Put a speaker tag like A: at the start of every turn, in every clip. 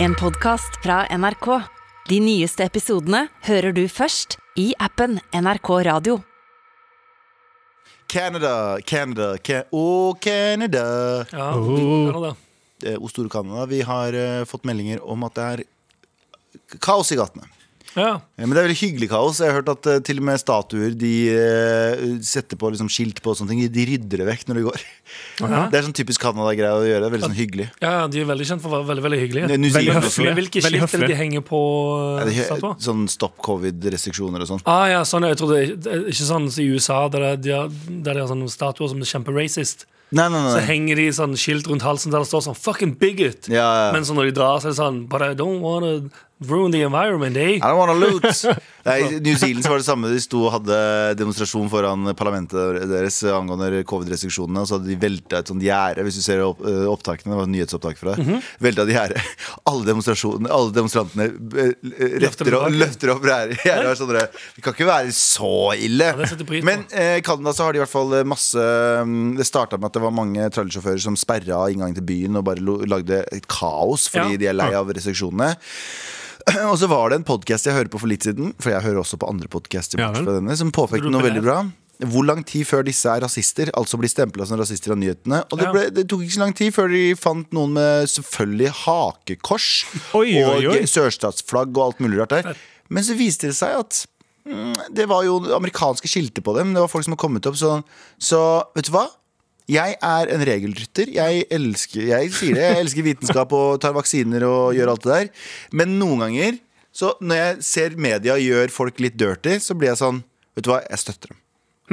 A: En podcast fra NRK. De nyeste episodene hører du først i appen NRK Radio.
B: Canada, Canada, Ca- Å, Canada.
C: Ja,
D: Oh.
C: det er noe det.
B: Eh, O store Canada. Vi har eh, fått meldinger om at det er kaos i gatene.
C: Ja.
B: Eh, Men det er veldig hyggelig kaos. Jeg har hørt at eh, til og med statuer de eh, setter på liksom, skilt på og sånne ting. De rydder det vekk når de går. Det er sånn typisk Canada-greie å gjøre. Det er Veldig sånn hyggelig.
C: ja, ja, de er veldig kjent for å være veldig veldig hyggelige.
B: New
D: Veldig
B: Zealand også.
D: høflig.
C: Men hvilke
D: Veldig
C: skilt er det
D: høflig.
C: de henger på?
B: Ja,
C: eh,
B: det er
C: satt på?
B: he- Sånn stopp covid-restriksjoner og sånn.
C: Ah, ja, sånn, jeg trodde, det er Ikke sånn som i USA, der det- de har, der de har sånne statuer som er kjemperacist.
B: Nei, nei,
C: Så
B: nei.
C: henger de sånn skilt rundt halsen der det står sånn 'fucking bigot'.
B: Ja, ja.
C: Men så når de drar, så er det sånn 'but I don't wanna ruin the environment', eh?
B: I don't wanna loot. Nei, I New Zealand så var det samme. De sto og hadde demonstrasjon foran parlamentet deres angående covid-restriksjonene. Og så hadde de velta et sånt gjerde. Hvis du ser opp, eh, opptakene, det var et nyhetsopptak fra det.
C: Mhm.
B: Velta de gjerde. Alle demonstrasjonene, alle demonstrantene eh,
C: dem
B: retter opp,
C: tilbake.
B: løfter opp gjerdet. og er sånn der, Det kan ikke være så ille.
C: det setter pris på.
B: Men eh, Canada så har de i hvert fall masse mm, Det starta med at det var mange trailersjåfører som sperra inngangen til byen og bare lo- lagde et kaos fordi
C: Ja.
B: de er lei av restriksjonene. Og så var det en podkast jeg hører på for litt siden, for jeg hører også på andre podcaster
D: Ja
B: bortsett
D: vel.
B: fra denne, som påpekte
C: Tror du
B: noe
C: på det?
B: veldig bra. Hvor lang tid før disse er rasister, altså blir stempla som rasister av nyhetene. Og det,
C: Ja.
B: ble, det tok ikke så lang tid før de fant noen med selvfølgelig hakekors
D: Oi, oi,
B: og
D: oi.
B: sørstatsflagg og alt mulig rart der. Men så viste det seg at mm, det var jo amerikanske skilter på dem. Det var folk som har kommet opp sånn. Så vet du hva? Jeg er en regelrytter. Jeg elsker, jeg sier det, jeg elsker vitenskap og tar vaksiner og gjør alt det der. Men noen ganger, så når jeg ser media gjør folk litt dirty, så blir jeg sånn Vet du hva, jeg støtter dem.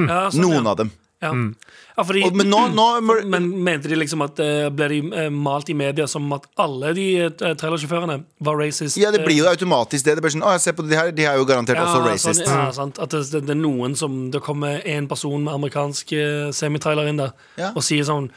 C: Ja, sånn,
B: Noen
C: ja.
B: av dem.
C: Ja.
D: Mm.
C: Ja, fordi,
B: Og, men nå, nå må-
C: Men mente de liksom at eh, ble de eh, malt i media som at alle de eh, trailersjåførene var racist?
B: Ja, det blir jo automatisk det. Det blir sånn, å, jeg ser på de her, de er jo garantert også racist.
C: Sånn, ja, sant. At det, det, det er noen som Det kommer en person med amerikansk eh, semitrailer inn der
B: Ja.
C: og sier sånn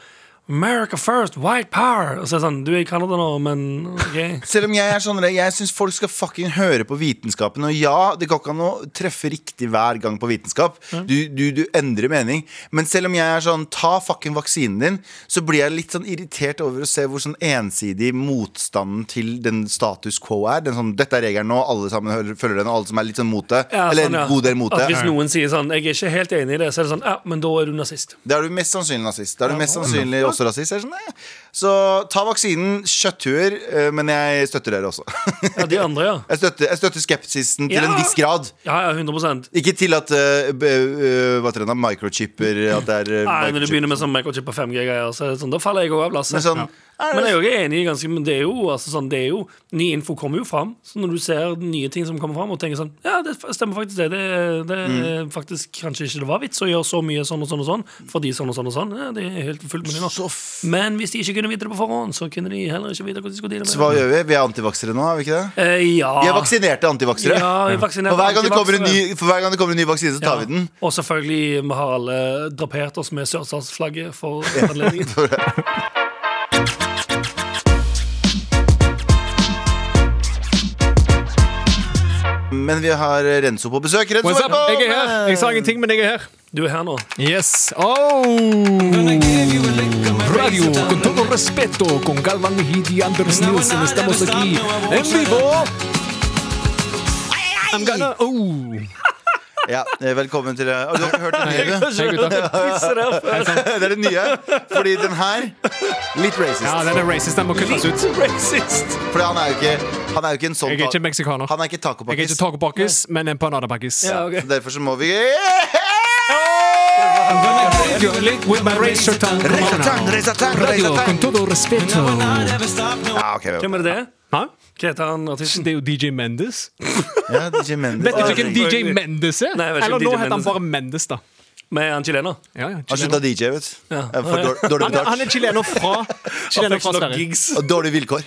C: America first, white power! Og så er det sånn Du er i Canada nå, men OK.
B: Selv om jeg er sånn, jeg syns folk skal fucking høre på vitenskapen. Og ja, det går ikke an å treffe riktig hver gang på vitenskap.
C: Mm.
B: Du, du, du endrer mening. Men selv om jeg er sånn, ta fucking vaksinen din, så blir jeg litt sånn irritert over å se hvor sånn ensidig motstanden til den status quo er. Den sånn, Dette er regelen nå, alle sammen hører- følger den, og alle som er litt sånn mot det.
C: Ja,
B: eller
C: sånn, ja.
B: en god del mot
C: At
B: det.
C: Hvis noen sier sånn Jeg er ikke helt enig i det, så er det sånn Ja, men da er du nazist.
B: Da er du mest sannsynlig nazist. Da er du mest sannsynlig også rasist. Jeg er Sånn, «Nei». så ta vaksinen, kjøtthuer, eh, men jeg støtter dere også.
C: Ja, de andre, ja.
B: Jeg støtter, jeg støtter skepsisen til
C: Ja.
B: en viss grad.
C: Ja, ja, 100
B: Ikke til at eh, b- eh, Hva heter det da? Microchipper At det er eh,
C: Nei, når du
B: microchip.
C: begynner med sånn microchip og 5G-greier, så er det sånn, da faller jeg òg av
B: Men
C: lasset.
B: sånn, er
C: Men
B: det-
C: jeg er jo ikke enig i ganske Men det er jo, altså sånn, det er jo Ny info kommer jo fram. Så når du ser nye ting som kommer fram, og tenker sånn Ja, det f- stemmer faktisk det. Det, det er
B: Mm.
C: faktisk kanskje ikke det var vits å gjøre så mye sånn og sånn og sånn fordi sånn og sånn og sånn. Ja, det er helt fullt mulig nå.
B: Så f-
C: Men hvis de ikke kunne vite det på forhånd, så kunne de heller ikke vite hvordan de skulle deale
B: så
C: med
B: hva
C: det.
B: gjør vi? Vi er antivaksere nå, er vi ikke det?
C: Eh, ja.
B: Vi er vaksinerte antivaksere.
C: Ja, vi er vaksinerte
B: Og hver gang, det kommer en
C: antivaksere.
B: ny, for hver gang det kommer en ny vaksine, så tar vi den.
C: Og selvfølgelig, vi har alle drapert oss med sørstatsflagget for anledningen.
B: Men vi har eh, Renzo på besøk. Renzo,
D: What's up?
B: velkommen!
D: Jeg er her. Jeg sa ingenting, men jeg er her.
C: Du er her nå.
D: Yes. Oh. Radio con todo respeto con Galvan Mejid y Anders Nielsen. Estamos aquí en vivo. I'm gonna oh.
B: Ja, eh, velkommen til Å, Du har ikke hørt den nye? du?
D: Hei, gutta.
B: Det er den nye. Fordi den her Litt racist.
D: Ja, den er racist. Den må kuttes ut.
B: Fordi han er jo ikke, han er jo ikke en sånn
D: Jeg er ikke
B: ta-
D: meksikaner.
B: Han er ikke
D: Jeg er ikke
B: tacopakkis.
D: tacopakkis, men en panadapakkis.
C: Ja, ok.
B: Så derfor så må vi
D: With my razor tongue.
B: Resatang, resatang,
D: Radio con
B: resatang.
D: todo respeto.
B: Ja, ok, vel.
C: Hvem er det?
D: Hæ?
C: Hva heter han artisten?
D: Det er jo DJ Mendes.
B: ja, DJ Mendes.
D: Vet du ikke
B: Han
D: hvem DJ Mendes er?
C: Nei, jeg vet ikke
D: Eller
C: hvem
D: nå
C: DJ
D: heter han
C: Mendes er.
D: bare Mendes, da.
C: Med han chilener?
D: Ja, ja,
B: slutta
D: chilener.
B: DJ, vet du.
C: Ja.
B: For dår- dårlig
D: han, er, han
B: betalt.
D: er chilener fra, chilener fra
C: nok
D: Sverige.
C: gigs
B: Og dårlige vilkår.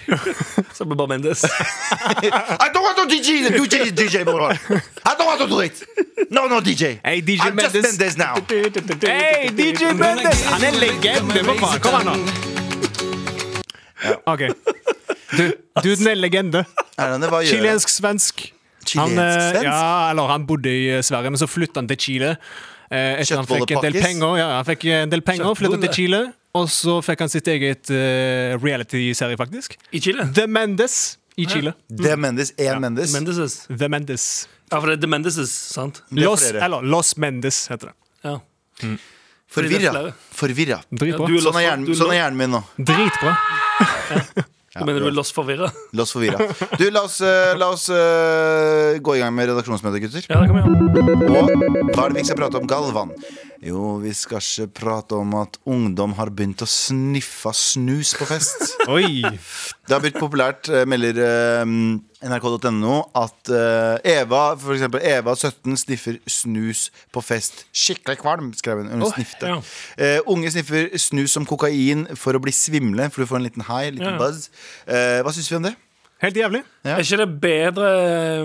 C: Så blir bare Mendes.
B: I don't want to DJ, you DJ, DJ Moran. I don't want to do it. No, no, DJ.
D: Hey, DJ
B: I'm just
D: Mendes.
B: Mendes now.
D: Hey, DJ Mendes! Han er legende, for faen. Kom an, nå. OK. Du, duden er legende.
B: Er han det? Hva gjør han?
D: Chilensk-svensk. Han, eh,
B: Chilensk-svensk?
D: ja, eller han bodde i eh, Sverige, men så flytta han til Chile. Eh, etter han fikk en del
B: Kjøttbollepakkis?
D: penger, ja, han fikk eh, en del penger flytta til Chile. Og så fikk han sitt eget eh, reality-serie, faktisk.
C: I Chile?
D: The Mendes. i Chile.
B: The Mendes, én Mendes.
C: Mendeses.
D: The Mendes.
C: Ja, for det er The Mendeses, sant?
B: er
D: Los,
B: flere.
D: eller Los Mendes heter det.
C: Ja. fordi det er
B: Forvirra.
C: flere.
B: Forvirra.
D: Dritbra.
C: Ja, du-
B: Sånn er hjernen,
C: Du er
B: sånn er
C: lo-
B: hjernen min nå.
D: Dritbra.
C: Du mener du er lost forvirra?
B: La oss forvirra. Du, la oss, eh, la oss eh, gå i gang med redaksjonsmøtet, gutter.
C: Ja, det kan vi gjøre.
B: Og hva er det vi ikke skal prate om, Galvan? Jo, vi skal ikke prate om at ungdom har begynt å sniffe snus på fest.
D: Oi.
B: Det har blitt populært, eh, melder eh, nrk.no, at eh, Eva, for eksempel Eva 17, sniffer snus på fest. Skikkelig kvalm, skrev hun. Hun snifte.
C: ja.
B: Eh, unge sniffer snus som kokain for å bli svimle, for du får en liten high, en liten
C: Ja.
B: buzz. Eh, hva syns vi om det?
D: Helt jævlig.
B: Ja.
C: Er ikke det bedre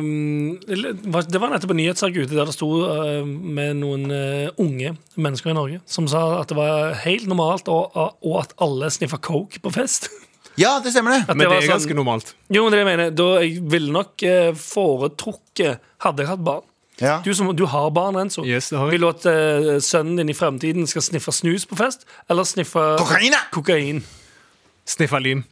C: um, eller, hva- Det var nettopp en nyhetssak ute der det sto uh, med noen uh, unge mennesker i Norge som sa at det var helt normalt, og, og at alle sniffa coke på fest.
B: Ja, det stemmer det!
C: At
D: Men det
C: var
D: er
C: sånn-
D: ganske normalt.
C: Jo, men det er det jeg mener, da jeg ville nok eh, foretrukket Hadde jeg hatt barn.
B: Ja.
C: Du, som, du har barn, Renzo.
D: Yes, det har jeg.
C: Vil du at eh, sønnen din i fremtiden skal sniffe snus på fest, eller sniffe
B: Kokain, ja!
C: kokain?
D: Sniffa lim.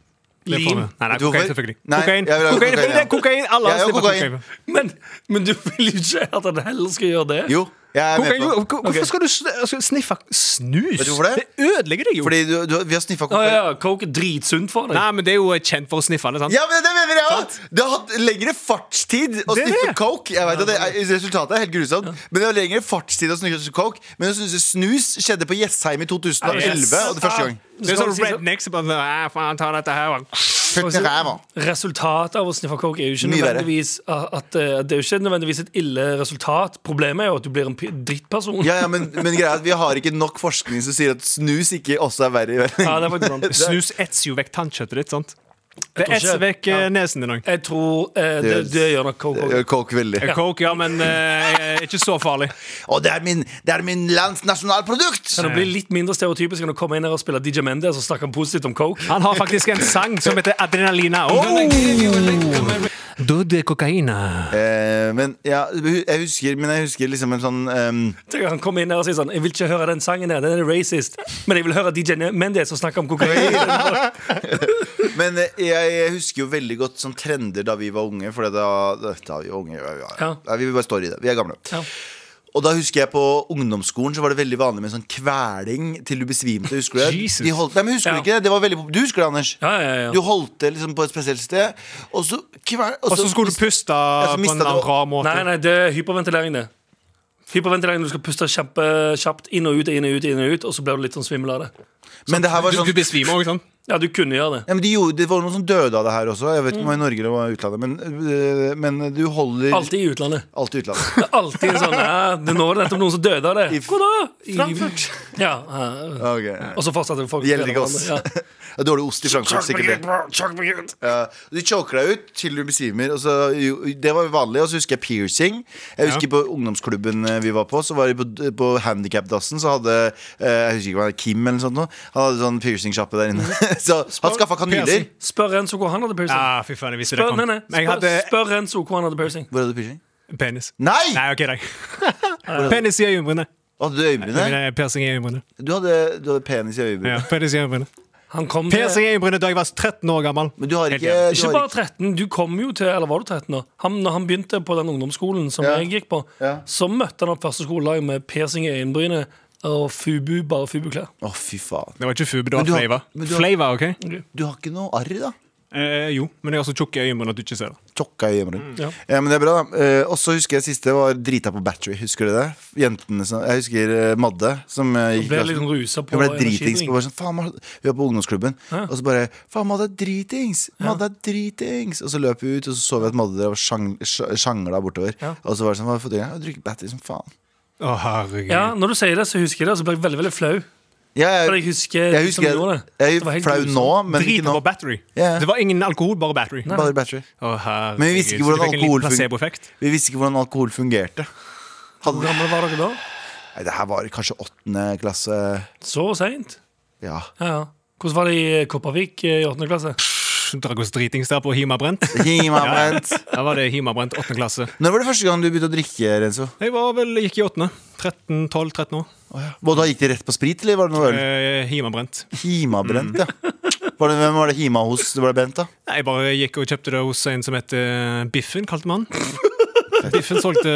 D: Det får
C: Lim?
D: vi. Nei, nei,
B: Vet du
D: kokain,
B: hvorfor?
D: selvfølgelig.
B: Nei,
D: kokain.
B: jeg vil ha
D: kokain,
B: kokain,
D: fordi det er
B: ja.
D: kokain. Alle
B: Jeg er jo
D: sniffer
B: kokain.
D: kokain.
C: Men, men du vil jo ikke at han heller skal gjøre det.
B: Jo, jeg er med
D: Kokain,
B: på det.
D: jo, ko-
C: Ok.
D: Hvorfor skal du sn- altså, sniffe snus?
B: Vet du hvorfor det?
D: ødelegger deg jo.
B: Fordi du, du, vi har sniffa
C: Å
B: kokain.
C: ja, coke er dritsunt for deg.
D: Nei, men det er jo kjent for å sniffe det, sant?
B: Ja, men det mener jeg òg! Det har hatt lengre fartstid å
D: Det er
B: sniffe
D: det.
B: coke. Jeg vet at det er, Resultatet er helt grusomt, men det har lengre fartstid å sniffe coke. Men å snuse snus skjedde på Jessheim i 2011.
C: Yes.
B: Og det første gang
D: Det er sånn rednecks bare sånn, «Æ, faen, ta dette her. og-
B: Fuck det her, mann.
C: sånn, Resultatet av å sniffe coke er jo ikke
B: Mye verre.
C: nødvendigvis at, at, eh, Det er jo ikke nødvendigvis et ille resultat. Problemet er jo at du blir en p- drittperson.
B: ja, ja, men, men greia er at vi har ikke nok forskning som sier at snus ikke også er verre. i verden.
C: Ja, det er faktisk sant.
D: Snus etser jo vekk tannkjøttet ditt, sant? Det
C: tror ikke-
D: etser vekk eh, nesen din òg.
C: Jeg tror eh, det,
B: Det-
C: det gjør nok coke
B: Det
C: også.
B: gjør Coke veldig.
D: Coke, ja, men eh, ikke så farlig.
B: Og det er min, det er min lands nasjonalprodukt!
C: Kan det bli litt mindre stereotypisk enn å komme inn her og spille DJ Mendes og altså snakke positivt om coke?
D: Han har faktisk en sang som heter Adrenalina. Oh! Døde kokaina.
B: Eh, men ja, jeg husker, men jeg husker liksom en sånn ehm,
C: Tenk at Han kommer inn her og sier sånn Jeg vil ikke høre den sangen her, den er racist. Men jeg vil høre DJ Mendes og snakke om kokain.
B: Men eh, jeg husker jo veldig godt sånn trender da vi var unge. For da, da da vi var unge ja, ja.
C: Ja.
B: Ja, Vi bare står i det. Vi er gamle.
C: Ja.
B: Og da husker jeg på ungdomsskolen så var det veldig vanlig med sånn kveling til du besvimte. Husker du det?
D: Jesus.
B: De holdt, nei, men husker
C: Ja.
B: du ikke det? det var veldig, pop- du husker det, Anders?
C: Ja, ja, ja.
B: Du holdt det liksom på et spesielt sted, og så kvel,
D: Og så skulle du puste
B: så
D: på
B: mistet
D: en
B: du-
D: rar måte.
C: Nei, nei, det er hyperventilering, det. Hyperventilering, Du skal puste kjempekjapt inn og ut, inn og ut, inn og ut, og så blir du litt sånn svimmel av det.
B: Men det her var
D: Du,
B: sånn
D: du besvimer òg, sant?
C: Ja, du kunne gjøre det.
B: ja, men de gjorde, Det var noen som døde av det her også. Jeg vet ikke om det var i Norge eller var i utlandet. Men, øh, men du holder
C: Alltid i utlandet.
B: alltid utlandet.
C: Det er alltid en sånn ja, det Nå er det nettopp noen som døde av det.
B: I-
C: Hvor da?
B: Frankfurt.
C: Ja, ja.
B: Ok, ja.
C: Og så fortsatte folk. å
B: Det gjelder
C: spille
B: ikke oss.
C: hverandre. Ja.
B: Det er dårlig ost i Frankfurt, sikkert det. Ja, de choker deg ut til du besvimer. Og så, jo, det var jo vanlig. Og så husker jeg piercing. Jeg husker På ungdomsklubben eh, vi var på, Så var vi på, på handikapdassen, så hadde eh, Jeg husker ikke hva det var, Kim eller noe sånt. nå. Han hadde sånn piercingsjappe der inne. så han skaffa kanyler.
D: piercing.
C: Spør Renzo hvor han hadde piercing.
D: Ja, fy faen, jeg visste det
C: Spør,
D: kom.
C: nei, nei.
D: Men jeg
C: Spør,
D: hadde
C: spør Renzo hvor han hadde piercing.
B: Hvor hadde du piercing?
D: penis.
B: Nei!
D: Nei, OK, nei. Penis i øyenbrynet.
B: Hadde du øyebrynene?
D: Nei, Piercing i øyenbrynet.
B: Du hadde, du hadde penis i
D: Ja,
B: øyebrynet.
D: penis i øyenbrynet.
C: Han kom til
D: Piercing i øyenbrynet da jeg var 13 år gammel.
B: Men du har
D: Helt
B: ikke,
D: jævlig.
B: du
C: Ikke
B: har
C: bare
B: ikke
C: 13, du kom jo til Eller var du 13 da? Han, når han begynte på den ungdomsskolen som
B: Ja.
C: jeg gikk på,
B: Ja.
C: så møtte han opp første skoledag med piercing i øyenbrynet og fubu, bare fubu-klær.
B: Å, fy faen.
D: Det var ikke Fubu, det var
B: Men du har-
D: Flavor.
B: men du har-
D: Flavor, OK?
B: Du har ikke noe arr, da?
D: Eh, jo, men jeg har så tjukke øyenbryn at du ikke ser det.
B: Tokka i hjemmelen.
C: Mm. Ja.
B: Ja, men det er bra, da. Eh, og så husker jeg siste var drita på battery. Husker du det? Jentene som Jeg husker eh, Madde. Som eh, gikk i
C: Ble
B: klassen.
C: litt rusa på
B: Hun ble dritings.
C: energidrink.
B: På, bare sånn, faen, Madde- vi var på ungdomsklubben, og så bare Faen, Madde er dritings! Madde er dritings! Og så løp vi ut, og så så vi at Madde drev og sjang- sj- sjangla bortover.
C: Ja.
B: Og så var det sånn Hva har du fått i deg? Jeg har drukket battery som faen.
D: Å, herregud.
C: Ja, når du sier det, så husker jeg det, og så ble jeg veldig veldig flau.
B: Ja,
C: For jeg
B: jeg,
C: husker,
B: jeg
C: de som
B: husker jeg,
C: gjorde det.
B: jeg
C: Det var
B: er
C: helt
B: flau
C: grusomt.
B: nå, men
D: Drit
B: ikke nå.
D: på battery.
B: Ja.
D: Det var ingen alkohol, bare battery.
B: Bare battery.
D: Å, herregud.
B: Men vi visste ikke
D: Så det
B: hvordan
D: fikk en liten
B: alkohol fun-
D: placeboeffekt.
B: Vi visste ikke hvordan alkohol fungerte.
C: Hvor gamle var dere da?
B: Nei, det her var kanskje åttende klasse.
C: Så seint?
B: Ja.
C: Ja, ja. Hvordan var det i Kopervik eh, i åttende klasse?
D: Pff, Drakk oss dritings der på Himabrent.
B: Gi meg vent.
D: Da var det Himabrent, åttende klasse.
B: Når var det første gang du begynte å drikke, Renzo?
D: Jeg var vel, gikk i åttende. 13-12-13 år.
B: Og da gikk det rett på sprit, eller var det noe øl?
D: Eh, Himabrent.
B: Himabrent, ja. Var det, hvem var det hjemme hos? Det var det Bent, da?
D: Nei, Jeg bare gikk og kjøpte det hos en som heter eh, Biffen, kalte man Biffen solgte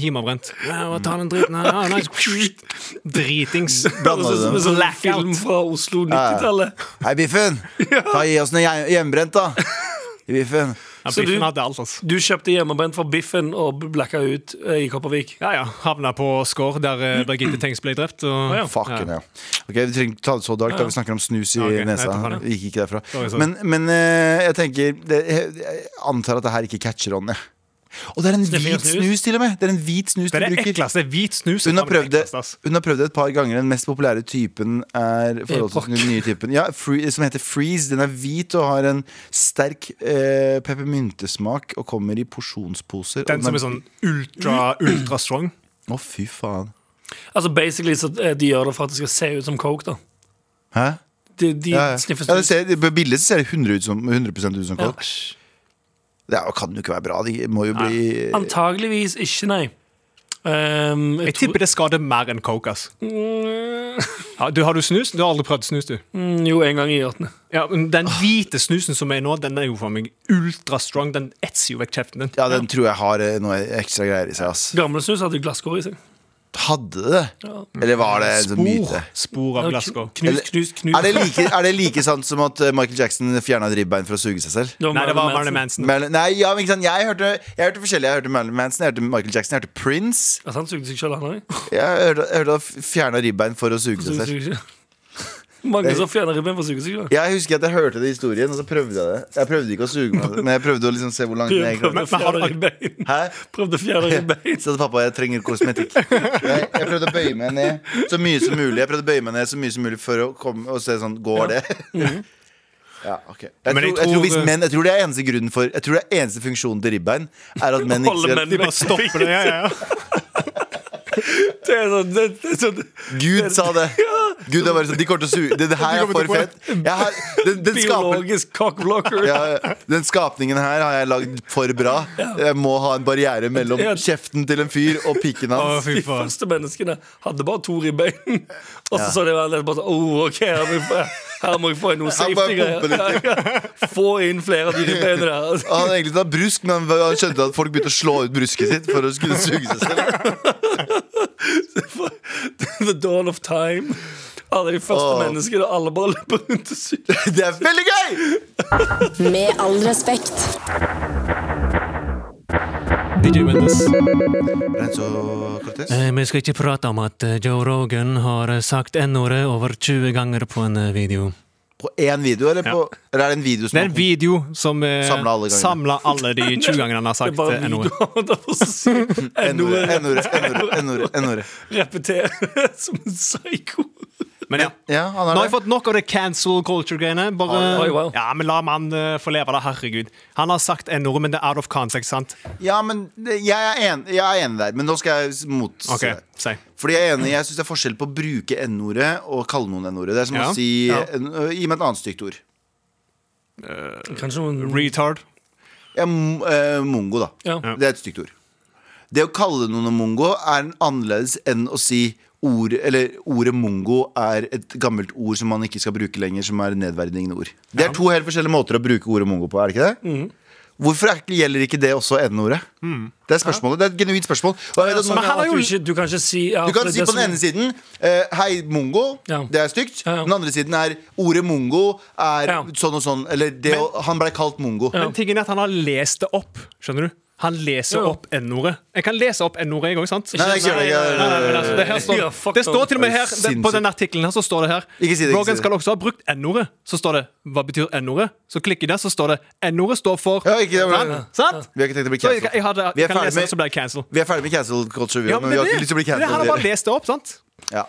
D: hjemmebrent. Ja, hva tar den driten her? Ja, nice. Dritings.
B: Blanda du dem?
C: en sånn
D: Blackout.
C: film fra Oslo 90-tallet.
B: Hei, Biffen! Ta Gi oss noe hjem- hjemmebrent, da! Biffen.
D: Ja,
C: Så
D: biffen
C: du-
D: hadde alt, altså.
C: Du kjøpte hjemmebrent for Biffen og blacka ut eh, i Kopervik.
D: Ja, ja. Havna på Skår, der eh, Birgitte Tengs ble drept. Og,
C: ja.
B: Fucken, ja. Ok, Vi trenger ikke ta det så dark da vi snakker om snus i
D: Ok, jeg
B: nesa.
D: tar det.
B: Vi gikk ikke
D: Sorry,
B: derfra.
D: sorry.
B: Men, men eh, jeg tenker det, jeg, jeg antar at det her ikke catcher on, jeg. Og det er en
C: Sniffer
B: hvit
C: snus?
B: snus, til og med! Det er en hvit snus
D: Det er
B: du
D: det
B: bruker.
D: ekleste. Hvit snus. er
B: Hun har,
D: faen meg
B: prøvd det,
D: ekleste, ass.
B: hun har prøvd det et par ganger. Den mest populære typen er forholdsvis
C: Epoch.
B: den nye typen. Ja, free, som heter Freeze. Den er hvit og har en sterk eh, peppermyntesmak og kommer i porsjonsposer.
D: Den
B: og
D: som er sånn ultra, ultra strong.
B: Å, fy faen.
C: Altså basically så eh, De gjør det for at det skal se ut som coke. da
B: Hæ?
C: De, de
B: Ja, ja.
C: sniffer
B: Ja, det
C: snus.
B: ser, på bildet så ser det 100, ut som, 100 ut som
C: Ja.
B: coke. Det er- kan jo ikke være bra. Det må jo bli
C: Antageligvis ikke, nei. Ehm,
D: Jeg tipper det skader mer enn coke. ass. Ja, du, har du snus? Du har aldri prøvd snus, du.
C: Mm, jo, en gang i hjørnet.
D: Ja, men Den hvite snusen som er nå, den er jo for meg ultra strong. Den etser jo vekk kjeften din.
B: Ja, den tror jeg har eh, noe ekstra greier i seg, ass.
C: Gamle snus hadde glasskår i seg.
B: Hadde det det? Eller var det en sånn myte?
D: Spor, spor av glasskår.
C: Knus, knus, knus.
B: Er det, like, er det like sant som at eh, Michael Jackson fjerna et ribbein for å suge seg selv?
D: Nei, det var Marilyn Manson.
B: Marilyn- nei, ja, men ikke sant? Jeg hørte, jeg hørte forskjellig. Jeg hørte Marilyn Manson, jeg hørte Michael Jackson, jeg hørte Prince.
C: At Altså, han sugde seg sjøl, han òg?
B: Jeg hørte, jeg hørte han fjerna ribbein for å suge seg selv.
C: Mange som fjerner ribben for å suge seg sjøl.
B: Jeg husker at jeg hørte det i historien, og så prøvde jeg det. Jeg prøvde ikke å suge meg, men jeg prøvde å liksom se hvor langt jeg kom.
C: Prøvde å fjerne ribbein.
B: Hæ?
C: Prøvde å fjerne ribbein.
B: Så pappa, jeg trenger kosmetikk. Jeg, jeg prøvde å bøye meg ned så mye som mulig Jeg prøvde å bøye meg ned så mye som mulig for å komme og se sånn Går det? Ja, ok jeg tror,
D: Men
B: jeg,
D: jeg
B: tror hvis
D: tror-
B: menn, jeg tror det er eneste grunnen for Jeg tror det er eneste funksjonen til ribbein Er at menn ikke
C: Holde
B: skal
C: menn vekk.
D: Stopper det, ja, ja, ja.
C: Det er sånn, det, det er sånn
B: Gud sa det. Gud er bare sånn, de kommer til å suge Det, det her er for fett. Jeg har, den, den, skaper,
C: biologisk cockblocker.
B: ja, den skapningen her har jeg lagd for bra. Jeg må ha en barriere mellom
C: Ja.
B: kjeften til en fyr og pikken
D: Å,
B: hans.
D: fy
C: De
D: faen.
C: første menneskene hadde bare to ribbein. Og så så de hverandre bare sånn oh, OK, her må jeg få, her må jeg få inn noe
B: Her må jeg
C: safety-greier.
B: pumpe
C: Ja, ja. Få inn flere av de ribbeinene der.
B: Han hadde egentlig tatt brusk, men han skjønte at folk begynte å slå ut brusket sitt for å skulle suge seg selv.
C: The dawn of time. Alle de første
B: Åh.
C: menneskene, og alle bare løper rundt og syr.
B: Det er veldig gøy!
E: Med all respekt.
D: DJ Mendes.
B: Renzo Cortez.
D: Eh, Vi skal ikke prate om at eh, Joe Rogan har eh, sagt n-ordet over 20 ganger på en eh, video.
B: På én video, eller, på, eller er det en video som
D: Det er en video som eh,
B: Samler alle gangene.
D: samler alle de 20 gangene han har
C: Det er
D: sagt
C: bare
D: eh, n-ordet.
C: videoer der for å si E.
B: N-ordet,
C: N-ordet
B: N-ordet, N-ordet, N-ordet, N-ordet.
C: repetere som en psyko.
D: Men ja.
B: Ja, han er
D: Nå har jeg
B: det.
D: fått nok av det cancel culture-greiene. Bare,
C: Oi, wow.
D: ja, men La mannen eh, få leve, da. Herregud. Han har sagt n-ordet, men det er out of context, sant?
B: Ja, men det- jeg er en- jeg er enig der, men nå skal jeg motsi
D: Ok,
B: deg.
D: si.
B: Fordi jeg er enig, jeg syns det er forskjell på å bruke n-ordet og kalle noen n-ordet. Det er som
D: Ja.
B: å si
D: Ja.
B: en, ø, Gi meg et annet stygt ord.
C: Kanskje noen
D: Retard.
B: Ja, m- ø, mongo, da.
C: Ja.
B: Det er et stygt ord. Det å kalle noen mongo er en annerledes enn å si ord, eller Ordet mongo er et gammelt ord som man ikke skal bruke lenger, som er et nedverdigende ord. Det er to helt forskjellige måter å bruke ordet mongo på, er det ikke det?
D: Mhm.
B: Hvorfor er, gjelder ikke det også n-ordet? Det er spørsmålet, det er et genuint spørsmål. Og jeg vet at
C: Men
B: noen-
D: han har
C: at
D: jo-
C: du, ikke, du kan ikke si ja,
B: du kan
C: for
B: si
C: det
B: på den
C: som-
B: ene siden eh, Hei, mongo.
C: Ja.
B: Det er stygt.
C: Ja, ja.
B: Den andre siden er ordet mongo er
C: Ja.
B: sånn og sånn. Eller det å, han blei kalt mongo.
D: Men tingen er at han har lest det opp. Skjønner du? Han leser
C: Jo, jo.
D: opp n-ordet. Jeg kan lese opp n-ordet, jeg òg, sant?
B: Nei, det gjør jeg
D: Nei, nei,
B: ikke.
D: men altså, det, her
C: Ja,
D: står,
C: fuck
D: det står til og med
B: Det er
D: her det, På
B: sinnssykt.
D: den artikkelen her så står det her
B: Ikke si det, ikke si
D: Rogan
B: det.
D: skal også ha brukt N-ordet. Så står det Hva betyr N-ordet? Så klikker jeg der, så står det N-ordet står for
B: Ja, ikke-
D: Sant? Sant?
B: Vi har ikke tenkt å bli
D: Så jeg, jeg,
B: cancelled.
D: hadde,
B: Vi er
D: jeg kan
B: ferdig
D: lese
B: med-
D: det, så blir jeg cancelled.
B: Vi er ferdig med cancel culture, vi,
D: Ja,
B: også, men vi har ikke lyst til å bli
D: det her har
B: cancelled.
D: bare lest det opp, sant?
B: Ja.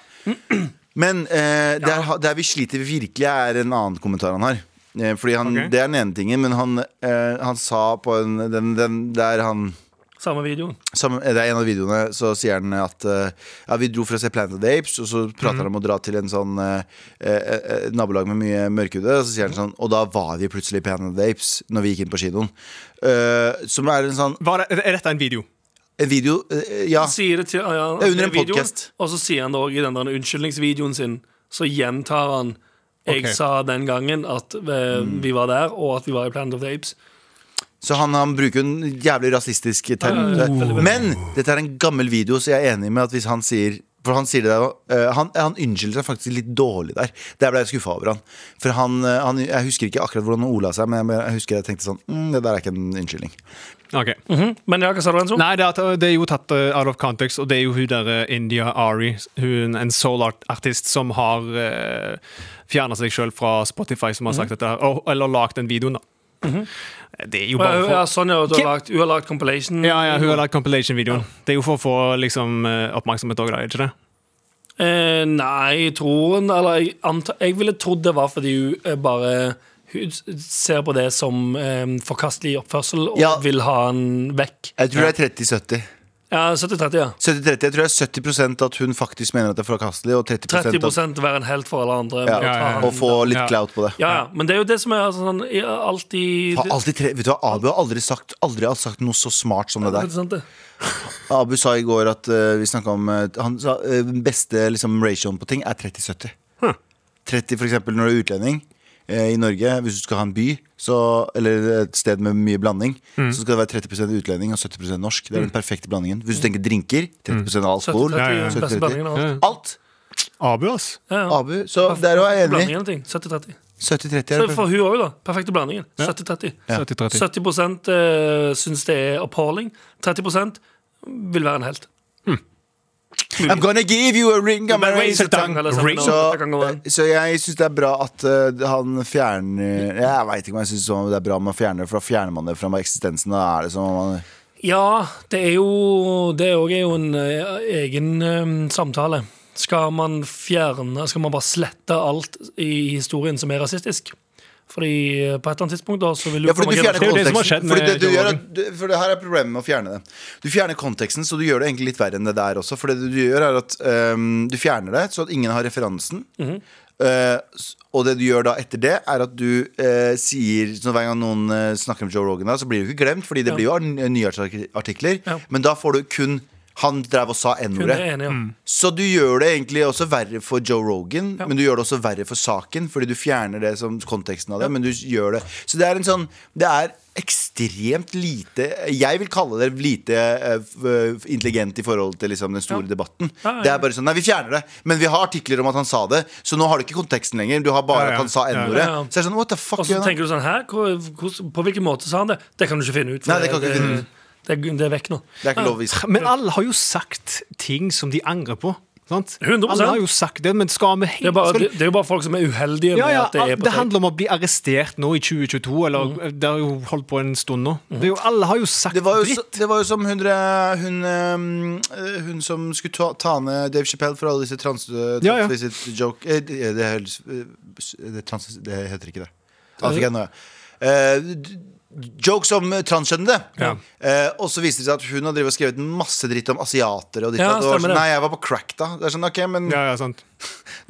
B: Men eh, der, ha- der vi sliter virkelig, er en annen kommentar han har. Eh, Fordi han,
D: Ok.
B: Det er den ene tingen, men han, eh, han sa på en den, den, Der han
C: Samme videoen.
B: sammen, Det er en av videoene, så sier han at eh, Ja, vi dro for å se Planet of the Apes, og så
D: Mhm.
B: prater han om å dra til en sånn eh, eh, eh, nabolag med mye mørkhudede, og så sier han sånn Og da var vi plutselig i Planet of the Apes, når vi gikk inn på kinoen. Eh, som er en sånn
D: Var det, er dette en video?
B: En video eh, Ja.
D: Altså,
C: Sier det til, ja, ja,
B: Det er under en
C: videoen,
B: podcast.
C: Og så sier han det òg i den der unnskyldningsvideoen sin. Så gjentar han Jeg
D: Ok.
C: sa den gangen at eh, vi var der, og at vi var i Planet of the Apes.
B: Så han, han bruker jo en jævlig rasistisk term.
C: Ja, ja, ja, veldig, veldig.
B: Men dette er en gammel video, så jeg er enig med at hvis han sier For han sier det der eh, Han, han unnskylder seg faktisk litt dårlig der. Der ble jeg skuffa over han. For han, eh, han Jeg husker ikke akkurat hvordan han ola seg, men jeg, jeg husker jeg tenkte sånn mm, Det der er ikke en unnskyldning.
D: Ok.
C: Mhm. Men ja, hva sa du, Enzo?
D: Nei, det er, at- det er jo tatt eh, out of context, og det er jo hun der eh, India Ari, hun, en soul-artist som har uh, fjerna seg sjøl fra Spotify, som har sagt
C: Mhm.
D: dette, her, og, eller lagd den videoen, da. Det er jo
C: Ja,
D: bare
C: hun- ja,
D: for
C: sånn, ja, du
D: Kim-
C: har lagt, hun har lagd compilation.
D: ja, ja, hun har lagd compilation-videoen. Det er jo for å få liksom, eh, oppmerksomhet òg, da, er det ikke det?
C: Eh, nei, jeg tror hun Eller jeg, anta, jeg ville trodd det var fordi hun eh, bare hun s- ser på det som eh, forkastelig oppførsel og
B: Ja.
C: vil ha den vekk.
B: Jeg tror det er 30-70.
C: Ja, 70-30, ja.
B: 70-30, Jeg tror det er 70 at hun faktisk mener at det er forkastelig, og 30,
C: 30
B: at,
C: være en helt for alle
B: ja,
C: andre. men å ta
D: ja, ja.
C: han-
B: Og få litt
D: Ja.
B: clout på det.
C: ja, ja, Men det er jo det som er altså, sånn, i- alltid
B: Har alltid tre, vet du hva, Abu har aldri sagt, aldri har sagt noe så smart som det
C: Det
B: der.
C: er sant, det.
B: Abu sa i går at eh, vi snakket om eh, Han sa eh, den beste liksom, ratioen på ting er 30-70. 30 for eksempel når du er utlending eh, i Norge, hvis du skal ha en by så, eller et sted med mye blanding,
C: Mm.
B: så skal det være 30 utlending og 70 norsk. Det er den perfekte blandingen. Hvis du tenker
C: Mm.
B: drinker, 30 alkohol,
C: 70-30
D: Ja, ja, ja.
C: er den beste
B: 70-30.
C: blandingen av alt.
B: alt.
D: Abu, ass.
C: Ja, ja.
B: Abu, så der òg er jeg
C: Blandingen
B: enig.
C: av ting. 70-30.
B: 70-30 er
C: Så
B: det
C: for
B: perfekte.
C: hun òg, da. Perfekte blandingen.
D: Ja.
C: 70-30.
D: 70-30.
C: 70 eh, syns det er appalling. 30 vil være en helt.
B: I'm gonna give you a ring, I'm gonna raise a tongue.
C: Eller sånn,
D: Ring.
C: nå, jeg kan gå
B: Så,
C: an.
B: så jeg syns det er bra at eh, han fjerner Jeg veit ikke om jeg syns det er bra om man fjerner det, for da fjerner man det fra eksistensen. Da er det som om man
C: Ja, det er jo Det òg er jo en eh, egen eh, samtale. Skal man fjerne Skal man bare slette alt i historien som er rasistisk? Fordi eh, på et eller annet tidspunkt da Så vil jo
B: Ja, fordi
C: komme
B: du fjerner
C: generasjoner-
D: Det er jo det som har
B: konteksten.
D: skjedd
B: Fordi det
D: med
B: du gjør,
D: dialogen.
B: at, du, for det her er problemet med å fjerne det. Du fjerner konteksten, så du gjør det egentlig litt verre enn det der også. For det du gjør, er at ehm, du fjerner det, så at ingen har referansen.
D: Mhm.
B: Eh, s- og det du gjør da etter det, er at du eh, sier så Hver gang noen eh, snakker om Joe Rogan, da, så blir det jo ikke glemt, fordi det
C: Ja.
B: blir jo ar- nye artik- artikler.
C: Ja.
B: Men da får du kun Han drev og sa
C: Hun er
B: N-ordet.
C: enig, ja.
B: Så du gjør det egentlig også verre for Joe Rogan, men du gjør det også verre for saken, fordi du fjerner det som konteksten av det, men du gjør det. Så det er en sånn Det er ekstremt lite Jeg vil kalle det lite eh, f- intelligent i forhold til liksom, den store debatten.
C: Ja, ja, ja.
B: Det er bare sånn Nei, vi fjerner det, men vi har artikler om at han sa det, så nå har du ikke konteksten lenger. Du har bare
D: Ja, ja.
B: at han sa
D: Ja, ja.
B: N-ordet.
C: Ja, ja.
B: Så det er sånn What the fuck?
C: Og så
B: gjør han?
C: tenker du sånn Hæ? Hvor, hvordan- på hvilken måte sa han det? Det kan du ikke finne ut. for
B: Nei, det kan du ikke finne ut.
C: det, er- det er vekk nå.
B: det er ikke lov å vise.
D: Men alle har jo sagt ting som de angrer på. Sant?
C: 100%.
D: Alle har jo sagt det, men skal vi
C: Det er,
D: helt
C: bare,
D: skal-
C: det, det er jo bare folk som er uheldige
D: Ja,
C: med
D: ja, ah,
C: at det er på Mm.
D: det
C: tape.
D: handler om å bli arrestert nå i 2022, eller det har jo holdt på en stund nå.
C: Mm.
D: Det er jo, alle har jo sagt
B: Det var jo,
D: dritt.
B: så, det var jo som hun, dere- hun, ehm, eh, hun som skulle ta, ta ned Dave Chappelle for alle disse trans...
D: Ja, ja.
B: translisitt joke, eh, det, det, høres- eh, det, trans, det heter ikke det. Ah, fikk jeg nå, ja. Eh, d- Jokes om eh, transkjønnede.
D: Ja.
B: Eh, og så viste det seg at hun har drevet og skrevet masse dritt om asiatere. Og ditt,
C: Ja,
B: og datt. det var
C: stemmer
B: sånn,
C: det.
B: nei, jeg var på crack da. Det er sånn, ok, men
D: Ja, ja, sant.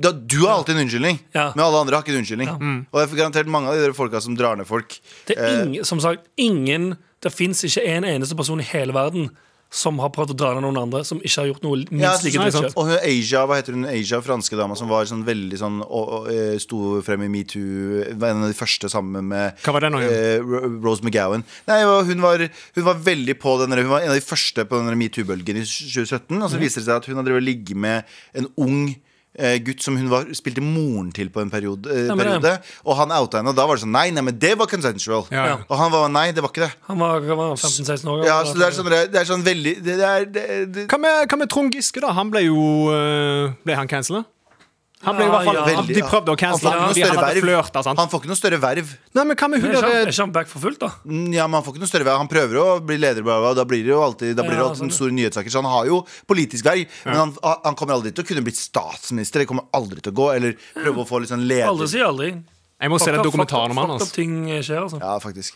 B: da, Du har alltid en unnskyldning,
C: Ja.
B: men alle andre har ikke en unnskyldning.
D: Mm.
B: Og det er garantert mange av de der folka som drar ned folk.
C: Det er ingen, som sagt, ingen Det fins ikke en eneste person i hele verden som har prøvd å dra ned noen andre som ikke har gjort noe minst like
B: nei,
C: dritt
B: sant.
C: selv.
B: Og hun Asia, hva heter hun Asia, franske dama som var sånn veldig sånn og, og, eh, Sto frem i metoo Var en av de første sammen med
D: Hva var det nå igjen?
B: eh, Ro- Rose McGowan Nei, og hun var, hun var veldig på den der- Hun var en av de første på den der metoo-bølgen i 2017 Og så viser det seg at hun hadde ligget med En ung eh, gutt som hun var, spilte moren til på en periode, eh,
C: Ja, men det-
B: periode Og han outa henne Og da var det sånn, nei, nei, men det var consensual
D: Ja, ja.
B: Og han var, nei, det var ikke det
C: Han var, hva var han, 15-16 år
B: ja, så det er sånn, det er sånn veldig det, det er, det, det,
D: Hva med, hva med Trond Giske, da? Han ble jo eh, Ble han cancela? Han ble i
C: Ja,
D: hvert fall
C: ja.
D: De prøvde å cancele
B: han
D: han
B: får
D: fordi
B: ikke noe
D: han hadde
B: større verv.
D: flørta, sant?
B: Han får ikke noe større verv.
D: Nei, men hva med hun
C: er, ikke, han- er
D: derre
C: ikke han back for fullt, da?
B: Mm, Ja, men han får ikke noe større verv Han prøver å bli leder, bla, bla, bla, og da blir det jo alltid, da blir det
C: Ja,
B: alltid
C: sånn.
B: store nyhetssaker. Så han har jo politisk verv, men han, han kommer aldri til å kunne bli statsminister. Det kommer aldri til å gå. Eller prøve å få litt sånn leder.
C: Aldri sier aldri.
D: Jeg må se
C: Fuck
D: den
C: up-
D: dokumentaren om
C: fuck
D: han.
C: up- fuck up
D: Altså.
C: ting skjer, altså.
B: Ja, faktisk.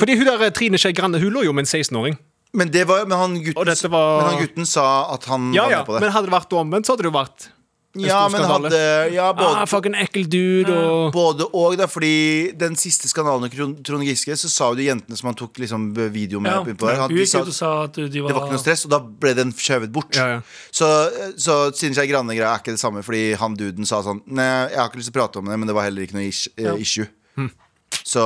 D: Fordi hun der eh, Trine Skei Grande hun lå jo med en 16-åring.
B: Men, det var, men, han
D: Og
B: gutten,
D: dette var-
B: men han gutten sa at han
D: Ja,
B: var
D: ja,
B: med på det.
D: men hadde det vært omvendt, så hadde det jo vært
B: Ja,
D: stor
B: men
D: skandale.
B: hadde ja, både,
D: Ah, fucking ekkel dude og
B: både og, da. Fordi den siste skandalen med Trond- Trond Giske, så sa jo de jentene som han tok liksom, video med
C: Ja,
B: på, han,
C: hun
B: de
C: gikk
B: sa,
C: ut og sa at de var,
B: Det var ikke noe stress, og da ble den skjøvet bort.
D: Ja, ja.
B: Så, så Trine Skei Grande-greia er ikke det samme, fordi han duden sa sånn Nei, jeg har ikke lyst til å prate om det, men det var heller ikke noe ish, eh, issue.
C: Hm.
B: Så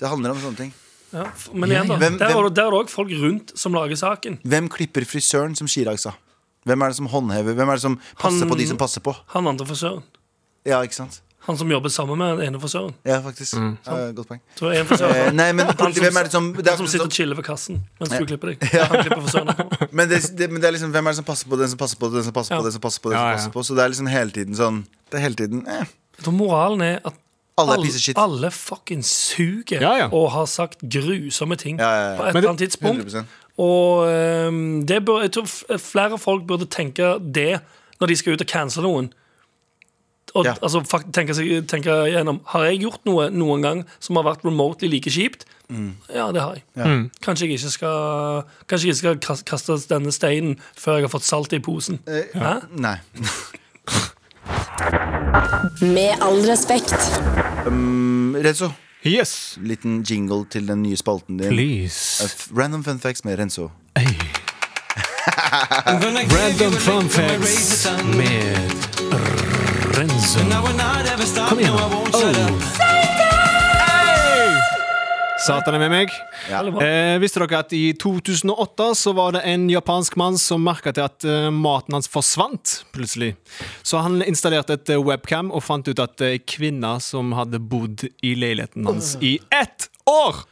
B: det handler om sånne ting.
C: Ja, f- men igjen, da.
B: Hvem-
C: der
B: hvem-
C: er det- der er det òg folk rundt som lager saken.
B: Hvem klipper frisøren, som Chirag sa? Hvem er det som håndhever? Hvem er det som passer
C: Han-
B: på de som passer på?
C: Han andre frisøren.
B: Ja, ikke sant?
C: Han som jobber sammen med den ene frisøren.
B: Ja, faktisk. Ja, godt poeng.
C: Så en frisør,
B: Eh, nei, men
C: Mm. han som,
B: hvem er det som, det er, sånn.
C: han som sitter og chiller ved kassen mens
B: Ja.
C: du klipper deg. Han klipper frisøren etterpå.
B: men, det, det, men det er liksom hvem er det som passer på den som passer på den som passer på
C: Ja.
B: den som passer på den
D: Ja,
B: som
D: ja.
B: passer på? Så det er liksom hele tiden sånn Det er hele tiden eh,
C: Så moralen er at
B: Alle er piece of shit.
C: alle fucking suger
D: Ja, ja.
C: og har sagt grusomme ting
B: Ja, ja, ja.
C: på et
D: Men
C: eller
D: det-
C: annet tidspunkt.
B: 100%.
C: Og ehm, det bør, jeg tror f- flere folk burde tenke det når de skal ut og cancele noen. Og
B: Ja.
C: altså, fakt- tenke, seg- tenke igjennom Har jeg gjort noe noen gang som har vært remotely like kjipt? Ja, det har jeg.
D: Mm.
C: Kanskje jeg ikke skal Kanskje jeg ikke skal kas- kaste denne steinen før jeg har fått salt i posen.
B: Eh,
C: Hæ?
B: Nei.
E: Med all respekt.
B: Mm, Renzo,
D: Yes!
B: liten jingle til den nye spalten din. Eh,
D: Please.
B: F- Random fun facts med Renzo.
D: Hey. Random fun facts med Renzo. Kom igjen. Oh. Satan er med meg.
C: Eller hva?
D: Eh, visste dere at i 2008 så var det en japansk mann som merka til at eh, maten hans forsvant plutselig. Så han installerte et eh, webcam og fant ut at ei kvinne som hadde bodd i leiligheten hans i ett år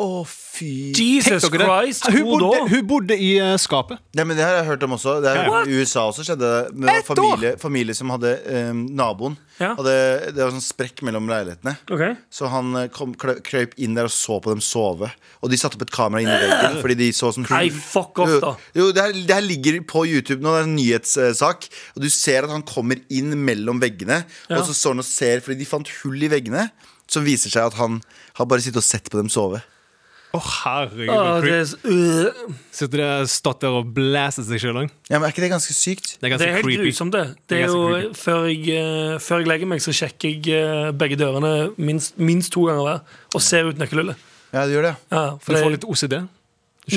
C: Jesus
D: Tenk dere det.
C: Christ,
D: hun,
C: to
D: bodde,
C: da?
D: hun bodde i eh, skapet.
B: Nei, men Det har jeg hørt om også. Det
D: Ja,
B: er, I USA også skjedde det med
D: Ett
B: familie, familie som hadde eh, naboen.
C: Ja.
B: Hadde, det var sånn sprekk mellom leilighetene.
C: Ok.
B: Så han eh, kom, klø- krøp inn der og så på dem sove. Og de satte opp et kamera inni veggen. Fordi de så som
C: Nei, fuck off, da.
B: Jo, jo, det, her, det her ligger på YouTube nå. Det er en nyhetssak. Og du ser at han kommer inn mellom veggene. Og så står han og ser, fordi de fant hull i veggene. Som viser seg at han har bare sittet og sett på dem sove.
D: Å,
C: Åh,
D: herregud. hvor
C: Ah, det,
D: creep.
C: er, s- øh.
D: Sitter der og stått der og blæser seg sjøl òg.
B: Ja, men Er ikke det ganske sykt?
D: Det er
C: det
D: ganske
C: er helt
D: creepy.
C: grusomt, det. Det
D: Det er
C: er
D: ganske
C: jo før jeg, eh, før jeg legger meg, så sjekker jeg eh, begge dørene minst, minst to ganger hver. Og ser ut nøkkelhullet.
B: Ja, det gjør det. ja.
C: Ja,
D: Du
C: for
D: får
C: det,
D: litt OCD.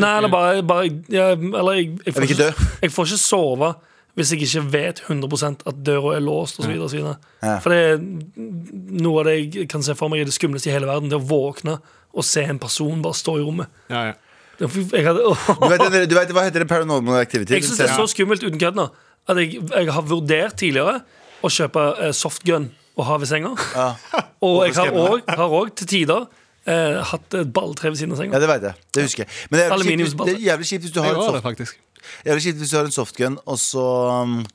C: nei, eller bare, bare ja, Eller jeg, jeg, får
B: vil ikke
C: ikke,
B: dø.
C: jeg får ikke sove hvis jeg ikke vet 100 at døra er låst osv.
B: Ja.
C: For det er noe av det jeg kan se for meg er det skumleste i hele verden. Det å våkne og se en person bare stå i rommet.
D: Ja, ja.
C: Det, jeg hadde,
B: Du vet, den- du vet hva heter det? Paranormal activity?
C: Jeg synes det er så skummelt uten kødd nå at jeg, jeg har vurdert tidligere å kjøpe eh, softgun og ha ved senga. Og jeg har
B: skremmende.
C: også- har òg til tider eh, hatt et balltre ved siden av senga.
B: Ja, det vet jeg. Det husker jeg. Men det er jævlig kjipt, hvis-
C: Aluminiumsballer.
B: det er jævlig kjipt hvis du har
D: Jeg
B: et
D: var
B: soft
D: det, faktisk.
B: Jævlig kjipt hvis du har en softgun, og så um,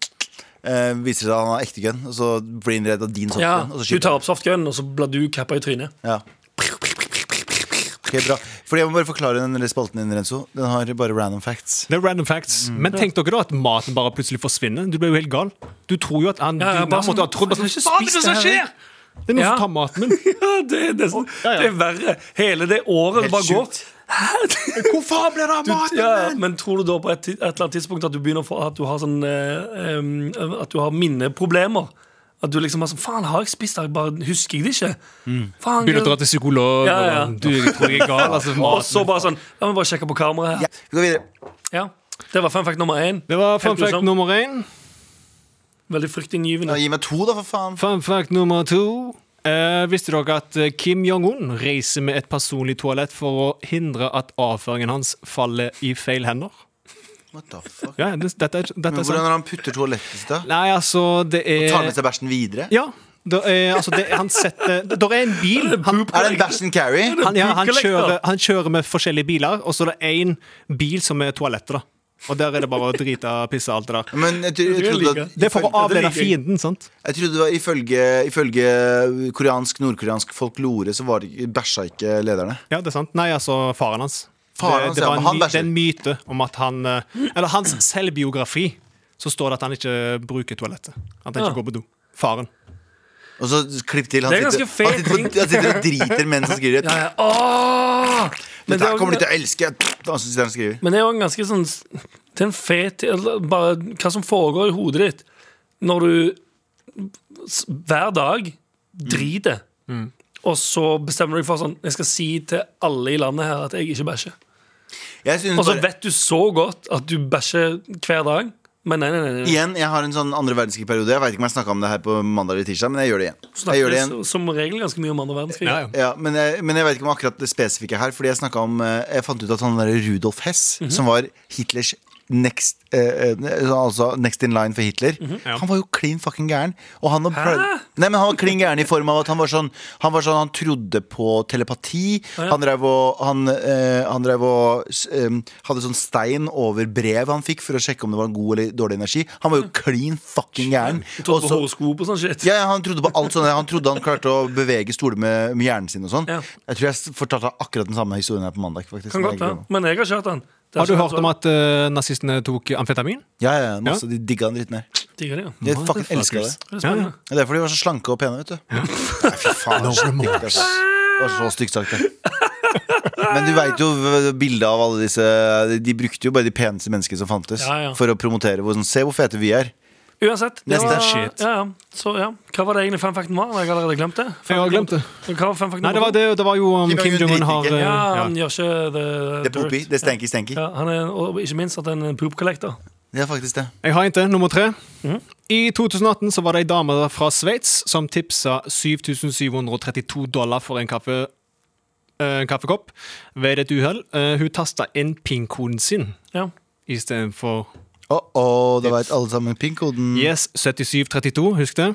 B: eh, viser det seg at han har ekte gun, og så blir han redd av din softgun.
C: Ja,
B: og så
C: du
B: skyter
C: tar opp softgun, og så blir du kappa i trynet.
B: han. Ja. Ok, bra. Fordi jeg må bare forklare den lille spalten din, Renzo. Den har bare random facts.
D: Det er random facts.
C: Mm.
D: Men tenk dere da at maten bare plutselig forsvinner. Du blir jo helt gal. Du tror jo at han
C: Ja, ja,
D: din
C: bare
D: mann
C: sånn-
D: måtte ha trodd bare
C: Jeg har ikke
D: sånn, Faen, det er
C: spist
D: det som
C: det her,
D: skjer! Det er noen
C: Ja.
D: som tar maten min.
C: Ja, det er nesten
D: ja.
C: Det er verre. Hele det året det
B: Helt
C: bare går.
B: sjukt.
D: Hvorfor ble det av maten
C: Ja,
D: min?
C: men tror du da på et, ti- et eller annet tidspunkt at du begynner å få at du har sånn eh, em, At du har minneproblemer? At du liksom har sånn Faen, har jeg spist det? Jeg Bare husker jeg det ikke? Faen,
D: Begynner å
C: jeg-
D: dra til psykolog.
C: Ja, ja.
D: og Du jeg tror jeg er gal. Altså,
C: Og så
D: maten.
C: bare sånn La meg bare sjekke på kameraet
B: Ja,
C: her.
B: vi går videre.
C: Ja. Det var fun fact nummer én.
D: Det var fun
C: Helt
D: fact
C: grusomt.
D: nummer én.
C: Veldig
B: Ja,
C: fryktinngyvende.
B: gi meg to, da, for faen.
D: Fun fact nummer to. Eh, visste dere at eh, Kim Jong-un reiser med et personlig toalett for å hindre at avføringen hans faller i feil hender?
B: What the fuck?
D: Ja, det, dette er, dette
B: Men
D: er
B: hvordan
D: sant.
B: har han putter toalettet sitt, da?
D: Nei, altså, det er
B: Tar med seg bæsjen videre?
D: Ja. Det er, altså, det, han setter Det der er en bil. Han,
B: Er det en bæsj and carry?
D: han, ja, han,
C: Bootleg, da.
D: kjører, han kjører med forskjellige biler, og så er det én bil som er toalettet, da. Og der er det bare å drite, pisse, alt det der.
B: Men jeg, tror- jeg,
C: Det
B: trodde
C: liker
B: at,
D: Det er for å
C: Det liker
D: avlede
C: jeg.
D: fienden, sant?
B: jeg trodde det var ifølge, ifølge koreansk, nordkoreansk folklore, så var det, bæsja ikke lederne.
D: Ja, det er sant. Nei, altså faren hans.
B: Faren
D: det,
B: hans,
D: det,
B: ja,
D: var
B: men
D: en,
B: han
D: my-
B: bæsjer.
D: det er en myte om at han eh, Eller hans selvbiografi, så står det at han ikke bruker toalettet. At han
C: Ja.
D: ikke går på do. Faren.
B: Og så klipp til. Han
C: Det er
B: sitter,
C: ganske fair
B: han sitter,
C: ting.
B: han sitter og driter mens han skriver.
C: Ja, ja. Åh! Men
B: Dette
C: det
B: her
C: er
B: kommer de til
C: også-
B: å elske. Han sitter han og skriver.
C: men det er jo en ganske sånn Det er en fet eller Bare hva som foregår i hodet ditt. når du s- hver dag
B: Mm.
C: driter, og så bestemmer du deg for sånn Jeg skal si til alle i landet her at jeg ikke bæsjer.
B: Jeg synes
C: Og så
B: bare-
C: vet du så godt at du bæsjer hver dag, men nei, nei, nei. nei.
B: Igjen, jeg har en sånn andre verdenskrig-periode. Jeg vet ikke om jeg snakket om det her på mandag eller tirsdag, men jeg gjør det igjen. Jeg gjør det igjen.
C: Snakker Som regel ganske mye om andre verdenskrig.
D: Ja, ja.
B: Ja, men, jeg, men jeg vet ikke om akkurat det spesifikke her. Fordi jeg snakket om eh, Jeg fant ut at han der Rudolf Hess,
C: Mhm.
B: som var Hitlers next eh, eh, Altså next in line for Hitler,
C: Mhm,
B: han var jo klin fucking gæren. Og han, og Brad- nei, men han var klin gæren i form av at han var sånn Han, var sånn, han trodde på telepati. Han drev og Han, eh, han drev og s- em, hadde sånn stein over brev han fikk, for å sjekke om det var en god eller dårlig energi. Han var jo klin fucking gæren.
C: Du tok
B: Og
C: på
B: så-
C: horoskop og sånn shit.
B: ja, ja, han trodde på alt sånt. Han trodde han klarte å bevege stoler med, med hjernen sin og sånn.
C: Ja.
B: Jeg tror jeg s- fortalte akkurat den samme historien her på mandag. faktisk
C: Kan godt
B: Jeg
C: være.
B: glemmer.
C: Men jeg har kjørt den. Det er
D: Har du
C: ikke
D: hørt
C: så-
D: om at eh, nazistene tok amfetamin?
B: Ja, ja, ja, masse. De digga den dritten her.
C: Digger det, ja.
B: De fucking elska det.
C: Det er spennende.
B: Ja, Det er fordi de var så slanke og pene, vet du. Nei, fy faen, det var så stygt, altså. Det var så stygt sagt, det. Men du veit jo v- bildet av alle disse De brukte jo bare de peneste menneskene som fantes,
C: Ja, ja.
B: for å promotere hvor sånn Se hvor fete vi er.
C: Uansett. Det
B: Neste
C: var,
D: shit.
C: Ja, ja. Så, ja. Hva var det egentlig fanfacten var? Jeg har allerede glemt det.
D: Jeg har glemt det.
C: Hva var fanfacten
D: Nei, det var, det, det var jo om
B: Kim
D: Kim
B: Jong-un
D: Jong-un har
B: driter ikke.
D: eh,
C: Ja,
D: ja.
C: han gjør ikke the
B: Det er poopy.
C: dirt.
B: Det er stanky, stanky.
C: Ja, han er, og ikke minst at han er en poop collector.
B: Det er faktisk det.
D: Jeg har en til, nummer tre.
C: Mhm.
D: I 2018 så var det ei dame fra Sveits som tipsa 7732 dollar for en kaffe, eh, kaffekopp ved et uhell. Eh, hun tasta inn pin-koden sin
C: Ja.
D: istedenfor
B: Å, å, da veit alle sammen pin-koden.
D: Yes, 7732, husk det.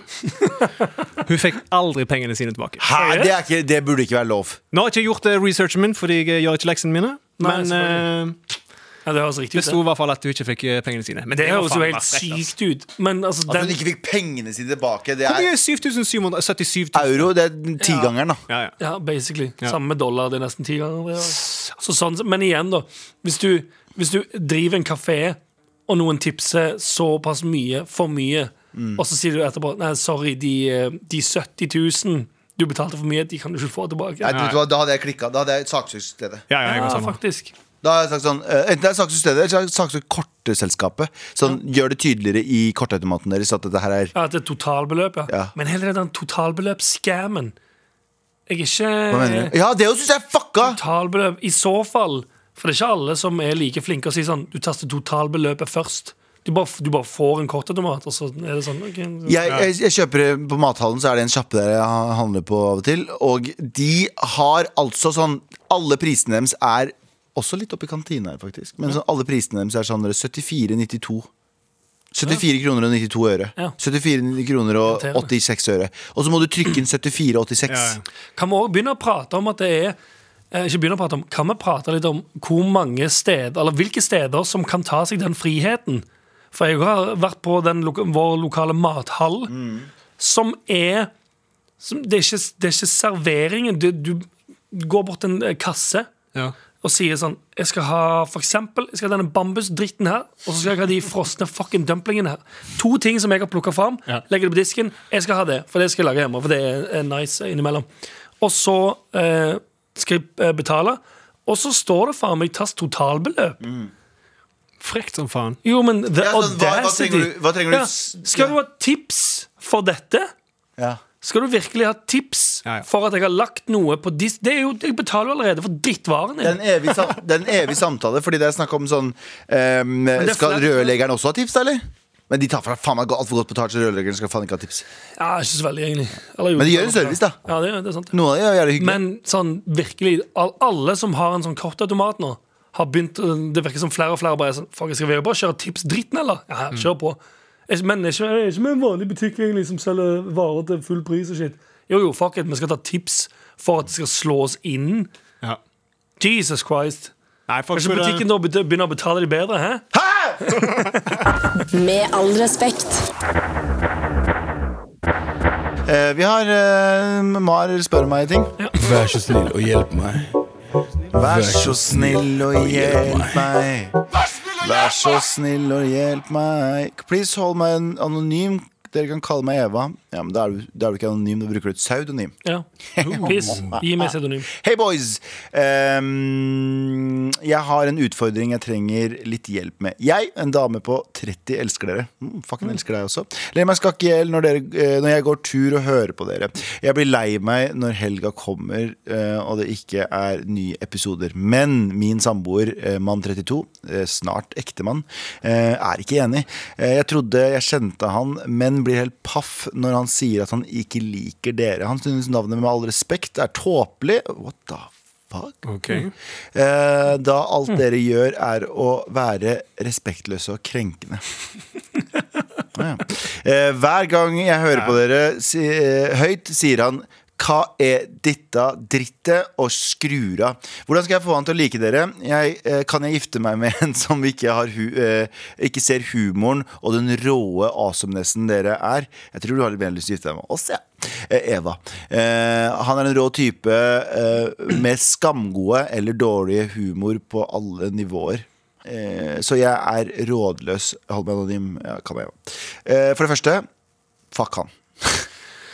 D: Hun fikk aldri pengene sine tilbake.
B: Hæ, det, er ikke, det burde ikke være lov.
D: Nå har jeg ikke gjort eh, researchen min, fordi jeg gjør ikke leksene mine.
C: Nei,
D: Men eh,
C: ja, det høres riktig
D: det
C: ut.
D: sto
C: Det,
D: i hvert fall at hun ikke fikk eh, pengene sine. Men
C: det
D: det var
C: høres jo
D: faen
C: helt
D: meg frekt, ass.
C: sykt ut. Men altså,
B: At
C: den
B: hun ikke fikk pengene sine tilbake. Det
D: Hvor mye
B: er
D: er 7777 000?
B: euro. Det er den tigangeren, da.
D: Ja, ja.
C: Ja, basically.
D: Ja.
C: Samme med dollar. Det er nesten ti ganger. det, ja. Så sånn, men igjen, da. Hvis du, hvis du driver en kafé, og noen tipser såpass mye, for mye, og så sier du etterpå Nei, sorry, de, eh, de 70 000 du betalte for mye, de kan du ikke få tilbake.
B: Nei, vet du hva, da hadde jeg klikka. Da hadde jeg saksøkt stedet.
D: ja, ja, jeg
C: ja,
D: går sammen.
C: faktisk.
B: Da hadde jeg sagt sånn, eh, Enten jeg saksøkt stedet, eller så har jeg saksøkt kortselskapet. Sånn, Gjør det tydeligere i kortautomaten deres at dette her er
C: Ja, at det er totalbeløp, ja.
B: Ja.
C: Men hele den totalbeløpsscammen Jeg er ikke
B: Hva mener du? Ja, det syns jeg er fucka!
C: Totalbeløp. I så fall For det er ikke alle som er like flinke og sier sånn Du taster totalbeløpet først. Du bare, du bare får en kortautomat, og så er det sånn ok, så-
B: Jeg, jeg, jeg kjøper eh, på mathallen, så er det en sjappe der jeg handler på av og til. Og de har altså sånn Alle prisene deres er også litt oppe i kantina her, faktisk. Men sånn, alle prisene deres er sånn dere, 74,92. 74 kroner og 92 øre.
C: Ja.
B: 74 kroner og
C: Irriterende.
B: 86 øre. Og så må du trykke inn 74,86.
D: Ja, ja.
C: Kan vi òg begynne å prate om at det er eh, ikke begynne å prate om, Kan vi prate litt om hvor mange steder Eller hvilke steder som kan ta seg den friheten? For jeg har vært på den, loka- vår lokale mathall, som er som, det, er ikke, det er ikke serveringen. Du, du går bort til en eh, kasse
D: Ja.
C: og sier sånn Jeg skal ha for eksempel, jeg skal ha denne bambusdritten her, og så skal jeg ha de frosne fucking dumplingene her. To ting som jeg har plukka fram.
D: Ja.
C: Legger det på disken. Jeg skal ha det, for det skal jeg lage hjemme. For det er er nice innimellom. Og så eh, skal jeg eh, betale, og så står det faen meg tast totalbeløp.
D: Frekt som faen.
C: Jo, men the
B: Mm. Ja, sånn, hva- hva
C: audacity.
B: trenger du- hva trenger du
C: Ja.
B: s-
C: Skal du ha tips for dette?
B: Ja.
C: Skal du virkelig ha tips
D: Ja, ja.
C: for at jeg har lagt noe på dis... Det er jo, jeg betaler jo allerede for drittvaren
B: Det er
C: din.
B: en evig, sam det er en evig samtale, fordi det er snakk om sånn ehm,
C: det er
B: Skal
C: flaut.
B: rørleggeren også ha tips, da, eller? Men de tar for deg faen meg altfor godt betalt, så rørleggeren skal faen ikke ha tips.
C: Ja, ikke så veldig, egentlig. Eller jo,
B: Men de gjør en service, da.
C: Ja, det, er- det er sant.
B: Noen av de er jævlig hyggelige.
C: Men sånn virkelig al- Alle som har en sånn kortautomat nå har begynt, øh, Det virker som flere og flere bare er sånn Fuck, skal vi bare kjøre tipsdritten, eller? Ja,
B: Mm.
C: kjør på. Jeg- Men det er ikke, det er ikke med en vanlig butikk egentlig som selger varer til full pris og shit. Jo, jo, fuck it, vi skal ta tips for at det skal slå oss inn.
D: Ja.
C: Jesus Christ.
D: Nei, folk
C: Kanskje butikken da be- begynner å betale de bedre? hæ?
E: Med all respekt.
B: Eh, vi har eh, Mar spør meg ting.
F: Vær så snill og hjelp meg.
B: Vær så snill og hjelp meg. Vær så snill og hjelp meg. Please hold meg en anonym. Dere kan kalle meg Eva. Ja, men Da er du, da er du ikke anonym, da bruker du et pseudonym.
C: Ja. Piss. Gi meg pseudonym.
B: Hei, boys! Ehm, jeg har en utfordring jeg trenger litt hjelp med. Jeg, en dame på 30, elsker dere. Mm, fucking elsker deg også. Ler meg skakk i hjel når, dere- eh, når jeg går tur og hører på dere. Jeg blir lei meg når helga kommer eh, og det ikke er nye episoder. Men min samboer, eh, mann 32, eh, snart ektemann, eh, er ikke enig. Eh, Jeg trodde jeg kjente han, men blir helt paff når han sier at han ikke liker dere. Han synes navnet med all respekt er tåpelig. What the fuck?
D: Ok.
B: Eh, da alt dere gjør er å være respektløse og krenkende. Ja, ja. Eh, hver gang jeg hører på dere si, eh, høyt, sier han hva er dette drittet og skrur av? Hvordan skal jeg få han til å like dere? Jeg, eh, kan jeg gifte meg med en som ikke, har hu eh, ikke ser humoren og den råe awesomenesen dere er? Jeg tror du har litt mer lyst til å gifte deg med oss, ja. Eh, Eva. Eh, han er en rå type eh, med skamgode eller dårlig humor på alle nivåer. Eh, så jeg er rådløs. Hold meg anonym. Ja, kan jeg. jo. Eh, for det første, fuck han.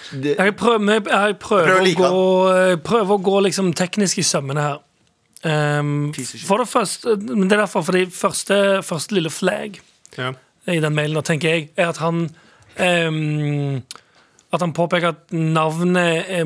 B: Det,
C: Jeg prøver, men jeg jeg
B: Prøver
C: prøver,
B: å
C: å,
B: like
C: gå, jeg prøver å gå liksom teknisk i sømmene her. Ehm, for det første men Det er derfor fordi første, første lille flagg
D: Ja.
C: i den mailen, da, tenker jeg, er at han ehm, At han påpeker at navnet er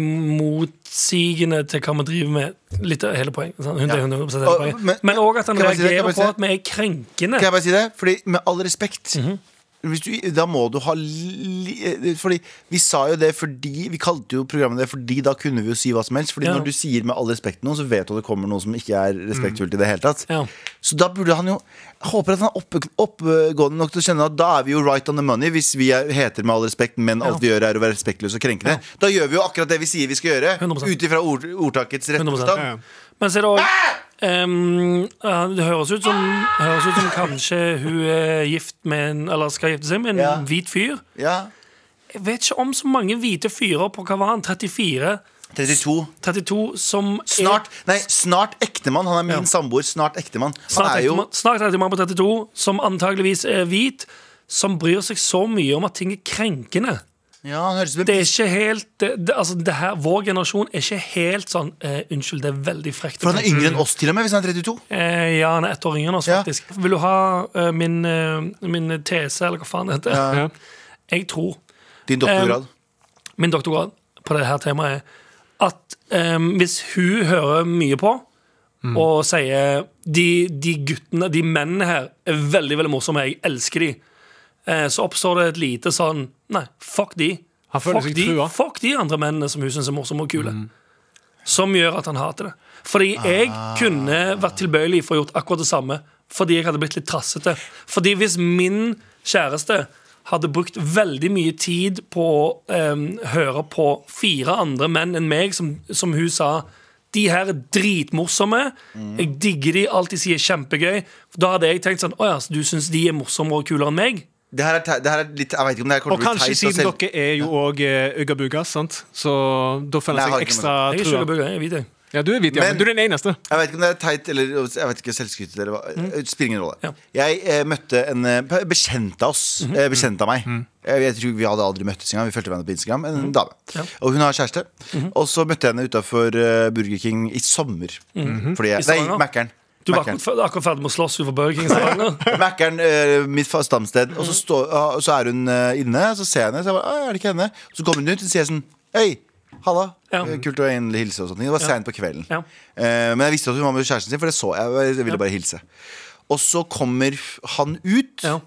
C: motsigende til hva vi driver med. Litt av hele poenget. sånn, 100, 100% hele
B: Og-
C: poenget.
B: men-
C: Men òg at han
B: kan jeg si det? Kan
C: reagerer
B: jeg si
C: på
B: det?
C: at vi er krenkende.
B: Kan jeg bare si det? Fordi med all respekt
C: Mhm.
B: hvis du, Da må du ha li, eh, Fordi vi sa jo det fordi Vi kalte jo programmet det fordi da kunne vi jo si hva som helst. Fordi
C: Ja.
B: når du sier med all respekt til noen, så vet du at det kommer noen som ikke er respektfullt i det hele tatt.
C: Mhm. Ja.
B: Så da burde han jo Jeg håper at han er oppe, oppegående nok til å kjenne at da er vi jo right on the money hvis vi er, heter med all respekt, men alt vi gjør er å være respektløse og krenkende. Da gjør vi jo akkurat det vi sier vi skal gjøre,
C: 100%.
B: ut ifra ord, ordtakets rette
C: 100%,
B: forstand.
D: Ja, ja.
C: Men så er det òg
B: Ah!
C: Det høres ut som, høres ut som kanskje hun er gift med en, Eller skal gifte seg med en
B: Ja.
C: hvit fyr.
B: Ja.
C: Jeg vet ikke om så mange hvite fyrer på hva var han? 34?
B: 32.
C: 32 som er-
B: Snart, nei, snart ektemann. Han er min
C: Ja.
B: samboer. Snart ektemann. Han
C: Snart
B: er jo
C: ektemann snart ektemann på 32 som antageligvis er hvit, som bryr seg så mye om at ting er krenkende.
B: Ja, han høres ut som
C: Det
B: en
C: er ikke helt det, det, altså det her, Vår generasjon er ikke helt sånn eh, Unnskyld, det er veldig frekt. å
B: For han er yngre enn oss, til og med, hvis han er 32.
C: Eh, ja, han er ett år yngre enn oss,
B: Ja.
C: faktisk. Vil du ha eh, min, eh, min tese, eller hva faen det heter?
D: Ja.
C: Jeg tror
B: Din doktorgrad.
C: min doktorgrad på det her temaet er at em, hvis hun hører mye på
D: Mm.
C: og sier de, de guttene, de mennene her, er veldig veldig morsomme, jeg elsker de, eh, så oppstår det et lite sånn Nei, fuck de.
D: Han føler
C: Fuck
D: seg Mm.
C: de,
D: trua.
C: fuck de andre mennene som hun syns er morsomme og kule. Som gjør at han hater det. Fordi jeg kunne vært tilbøyelig for å gjort akkurat det samme. Fordi jeg hadde blitt litt trassete. Fordi hvis min kjæreste hadde brukt veldig mye tid på å em, høre på fire andre menn enn meg, som, som hun sa de her er dritmorsomme. Jeg digger de. Alt de sier, er kjempegøy. Da hadde jeg tenkt sånn Å ja, så du syns de er morsommere og kulere enn meg?
B: Det her er, te- det her er litt Jeg vet ikke om det her kommer til
D: Og
B: å bli
D: kanskje
B: teit. og
D: siden
B: selv-
D: dere er jo òg uggabugas, sant? Så da føler
B: Nei, jeg har
D: jeg
B: ikke
D: seg ekstra
C: Jeg er ikke
D: trua.
C: sugarbugger, jeg er hvit, jeg.
D: Ja, du er hvit, ja,
B: Men-
D: men du er den eneste.
B: Jeg vet ikke om det er teit eller Jeg vet ikke selvskrytet eller hva. Det Spiller ingen rolle.
C: Mm. Ja. Mhm.
B: Jeg eh, møtte en eh, bekjent av oss. eh, Bekjent av meg.
C: Mm.
B: Jeg, jeg tror Vi hadde aldri møttes engang. Vi fulgte hverandre på Instagram. En dame.
C: Mhm. Ja. Mhm.
B: Og hun har kjæreste. Og så møtte jeg henne utafor Burger King i sommer. Fordi jeg,
C: Mhm. I
B: nei,
C: Stavanger?
B: Mækkern.
C: Du var
B: Mækkern.
C: akkurat, fer- akkurat ferdig med å slåss utenfor Burger King. Stavanger.
B: Mackeren, eh, mitt fa- stamsted. Og så, stå, og så er hun eh, inne, så ser jeg henne. Så jeg bare, «Å, er det ikke henne? Så kommer hun ut og sier jeg sånn Hei, halla.
C: Ja.
B: Eh, Kult å endelig hilse. og sånne ting Det var sent på kvelden.
C: Ja.
B: Eh, men jeg visste at hun var med kjæresten sin, for det så jeg. Jeg ville bare hilse. Og så kommer han ut.
C: Ja.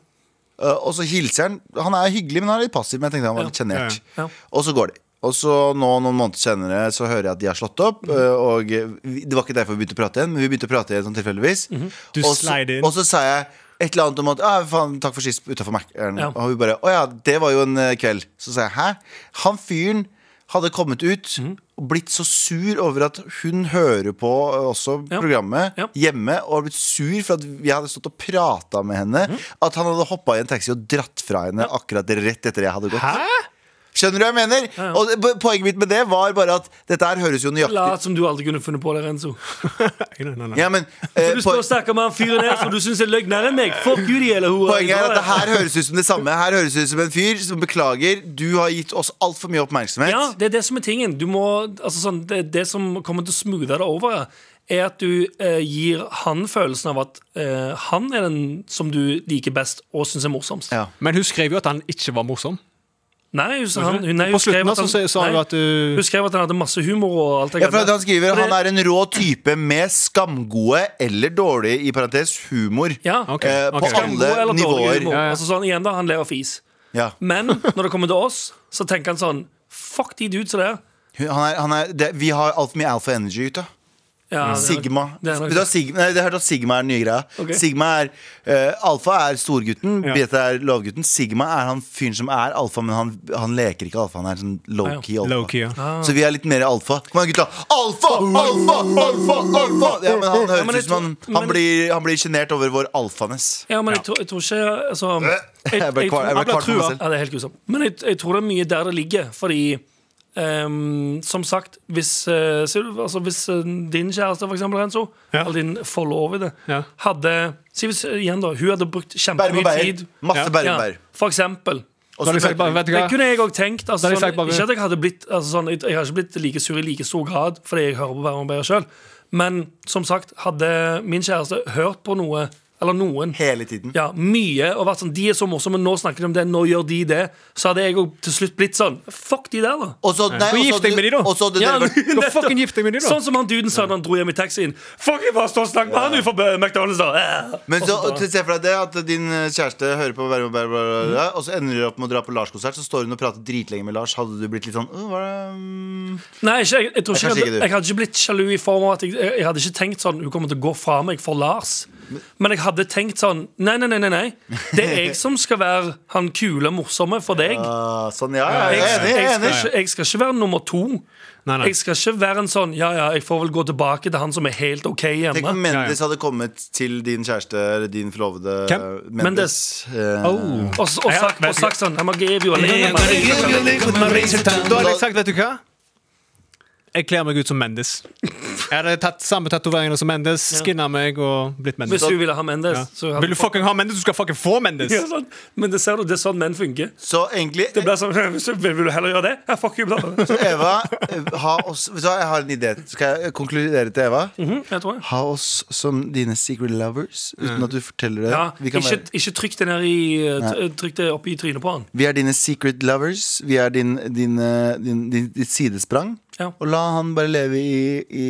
B: Uh, Og så hilser han. Han er hyggelig, men han er litt passiv. Men jeg tenkte han var litt sjenert.
C: Ja, ja.
B: Og så går de. Og så nå noen måneder senere så hører jeg at de har slått
C: Mhm.
B: opp. uh, Og vi- det var ikke derfor vi begynte å prate igjen, men vi begynte å prate igjen sånn tilfeldigvis.
C: Mhm.
D: Du
B: og,
D: slide
B: så,
D: inn.
B: og så sa jeg et eller annet om at «Ah, faen, 'takk for sist' utafor Mac-eren.
C: Ja.
B: Og hun bare 'Å ja, det var jo en eh, kveld'. Så sa jeg 'hæ?' Han fyren hadde kommet ut
C: Mhm.
B: og blitt så sur over at hun hører på eh, også
C: Ja.
B: programmet
C: Ja.
B: hjemme og har blitt sur for at vi hadde stått og prata med henne.
C: Mhm.
B: At han hadde hoppa i en taxi og dratt fra henne akkurat rett etter jeg hadde gått. Skjønner du hva jeg mener? Og det- po- poenget mitt med det var bare at dette her høres jo nøyaktig
C: Lat som du aldri kunne funnet på det, Renzo.
D: Nei, nei, nei.
B: ja, men, eh,
C: Du står
B: po-
C: og snakker med han fyren her som du syns er løgnere enn meg. Fuck you, de hele hora.
B: Poenget er at det her høres ut som det samme. Her høres det ut som en fyr som beklager. Du har gitt oss altfor mye oppmerksomhet.
C: Ja, det er det som er tingen. Du må, altså sånn, det, det som kommer til å smoothe det over, er er at du eh, gir han følelsen av at eh, han er den som du liker best og syns er morsomst.
B: Ja.
D: Men hun skrev jo at han ikke var morsom.
C: Nei, hun, han, hun, nei,
D: På
C: hun skrev
D: slutten
C: at
D: da, så
C: han-
D: sa hun
C: nei,
D: at du-
C: Hun skrev at han hadde masse humor og alt det
B: Ja, for at Han skriver
C: For det-
B: han er en rå type med skamgode eller dårlig i parentes humor.
C: ja.
D: Ok,
B: Eh, på
D: ok.
B: alle
C: God eller dårlig
B: nivåer.
C: humor.
D: Ja, ja.
C: Altså sånn, igjen da, han ler og fis.
B: Ja.
C: Men når det kommer til oss, så tenker han sånn Fuck de dudes og det.
B: Han er, han er, det, vi har altfor mye alfa energy ute.
C: Ja, det er nok-
B: Sigma.
C: Det er nok-
B: Vet du hva Sigma, nei, det hørte at Sigma er den nye greia.
C: Ok.
B: Sigma er eh, Alfa er storgutten,
D: Ja.
B: beta er lovgutten. Sigma er han fyren som er alfa, men han, han leker ikke alfa. Han er sånn low-key alfa.
D: Low-key, ja.
C: Ah.
B: Så vi er litt mer alfa. Kom igjen, gutta. Alfa! Alfa! Alfa! alfa Ja, men han
C: men
B: høres
C: jeg
B: ut som han,
C: tror-
B: han
C: men-
B: blir, han blir sjenert over vår alfaness.
C: Ja, men jeg tror, jeg tror ikke altså,
B: Jeg ble
C: jeg
B: kvar- jeg ble
C: tror-
B: kvart for meg selv.
C: Ja, det er helt grusomt. Men jeg, jeg tror det er mye der det ligger. Fordi ehm, som sagt, hvis, eh, ser du, altså, hvis eh, din kjæreste, for eksempel, Renzo,
D: Ja.
C: eller din forlovede,
D: Ja.
C: hadde Si hvis, igjen, da. Hun hadde brukt
B: Bærum
C: kjempemye
B: og bærer.
C: tid.
B: Masse
D: Ja.
B: bærum og
C: Ja,
B: bærer.
C: for eksempel.
B: Og
D: Da
B: så
D: har jeg sagt bare,
B: møter vi-
D: vet du
C: Det
D: hva?
C: kunne jeg òg tenkt. Altså,
D: Da har jeg
C: sånn,
D: sagt bare-
C: ikke at jeg hadde blitt altså, sånn, jeg, jeg har ikke blitt like sur i like stor grad fordi jeg hører på Bærum og Bærer sjøl. Men som sagt, hadde min kjæreste hørt på noe, eller noen,
B: hele tiden.
C: ja, mye og vært sånn De er så morsomme, nå snakker de om det, nå gjør de det. Så hadde jeg òg til slutt blitt sånn. Fuck de der, da.
B: Og så nei,
D: Gå
B: og så
D: gift deg
B: hadde-
D: med de, da.
B: Og så hadde
C: Ja,
B: dere vært
D: Gå fucking gift deg med de, da.
C: Sånn som han duden sa da han dro hjem i taxien. Fuck, jeg bare står og snakker med han utenfor McDonald's, da. Eh.
B: Men så, til se for deg det at din eh, kjæreste hører på Bærum og Bærum, bla, bla, bla, og så ender dere opp med å dra på Lars-konsert, så står hun og prater dritlenge med Lars. Hadde du blitt litt sånn «Åh, hva er det, mm?»
C: Nei, ikke, jeg, jeg, tror ikke
B: Kanskje
C: jeg,
B: ikke
C: hadde,
B: du.
C: jeg hadde ikke blitt sjalu i form av at jeg, jeg, jeg hadde ikke tenkt sånn Hun kommer til å gå fra meg for Lars. Men jeg hadde tenkt sånn Nei, nei, nei. nei, nei Det er jeg som skal være han kule og morsomme for deg.
B: Ah, Sånn, ja, ja,
C: Jeg,
B: jeg er enig.
C: jeg,
B: Jeg er
C: skal
B: enig.
C: ikke, jeg skal ikke være nummer to.
D: Nei, nei.
C: Jeg skal ikke være en sånn Ja, ja, jeg får vel gå tilbake til han som er helt OK
B: Tenk om
C: hjemme.
B: Mendes hadde kommet til din kjæreste eller din forlovede
D: Hvem?
B: Mendes. Eh,
C: Og, og, sagt, og sagt sånn I'm gonna give you a little bit.
D: Da hadde jeg sagt, vet du hva? Jeg kler meg ut som Mendes. Jeg hadde tatt samme tatoveringene som Mendes, skinna meg og blitt Mendes.
C: Hvis hun ville ha Mendes,
D: Ja.
C: så hadde
D: Vil du fucking ha Mendes? Du skal fucking få Mendes!
C: ja, sånn. Men det ser du, det er sånn menn funker.
B: Så egentlig
C: Det blir sånn, hvis du- Vil du heller gjøre det? Ja, fuck you. bla, bla, bla.
B: Eva, eh, ha oss Vet du hva, jeg har en idé. Skal jeg eh, konkludere til Eva?
C: Jeg tror det.
B: Ha oss som dine secret lovers, uten at du forteller det.
C: Mm. Ja,
B: Vi kan
C: ikke,
B: være-
C: ikke trykk det ned i eh, t- Trykk det opp i trynet på han.
B: Vi er dine secret lovers. Vi er din, din, eh, din, din, ditt sidesprang.
C: Ja.
B: Og la han bare leve i, i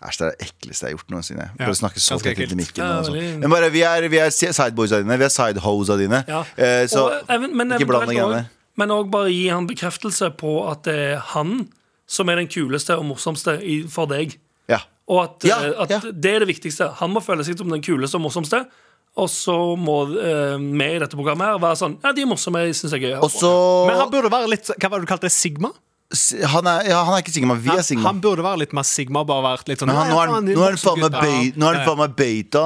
B: Æsj, det er det ekleste jeg har gjort noensinne.
D: Ja,
B: Bare snakke så
D: ganske
B: tett inn i
D: ekkelt.
B: mikken.
C: Ja,
B: og sånn.
C: veldig-
B: Men bare, vi er, vi er sideboysa dine. Vi er sidehosa dine.
C: Ja.
B: Eh, så
C: Og, eh, men- men
B: ikke bland
C: eventuelt
B: deg inn
C: også-
B: der.
C: Men òg bare gi han bekreftelse på at det er han som er den kuleste og morsomste i, for deg.
B: Ja.
C: Og at,
B: Ja,
C: eh, at
B: ja.
C: det er det viktigste. Han må føle seg som den kuleste og morsomste. Og så må eh, vi i dette programmet her være sånn Ja, de er morsomme, jeg syns jeg er gøy. å høre
B: Og så
D: Men han burde være litt Hva var det du kalte det? Sigma?
B: han, er, ja, han er ikke Sigma. Vi
D: Han,
B: er Sigma.
D: han burde være litt mer Sigma, bare vært litt sånn
B: Men han, nå er han-
D: ja,
B: nå er han faen meg
D: voksen gutt,
B: bøy- nå er han
D: ja.
B: faen meg bøyta.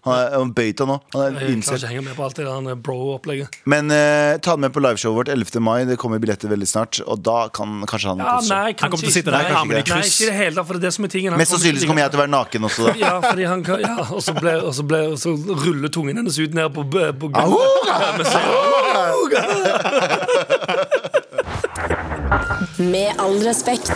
B: Han er han er bøyta nå. Han
C: på.
B: er
C: jeg klarer
B: innsett.
C: ikke å henge med på alt det der eh, bro-opplegget.
B: Men eh, ta den med på liveshowet vårt 11. mai. Det kommer billetter veldig snart. Og da kan kanskje han
C: Ja,
B: kose seg.
C: nei,
D: Han kommer til å
C: kanskje
D: sitte der
C: ikke.
D: med armene i
C: Nei,
D: kryss.
C: ikke i det hele tatt, for det er det som er tingen. Han
B: Mest sannsynlig så kommer jeg til å være naken også. da
C: Ja, fordi han kan, ja, og så, ble, og så, ble, og så ruller tungen hennes ut ned på, på, på
E: Med all respekt.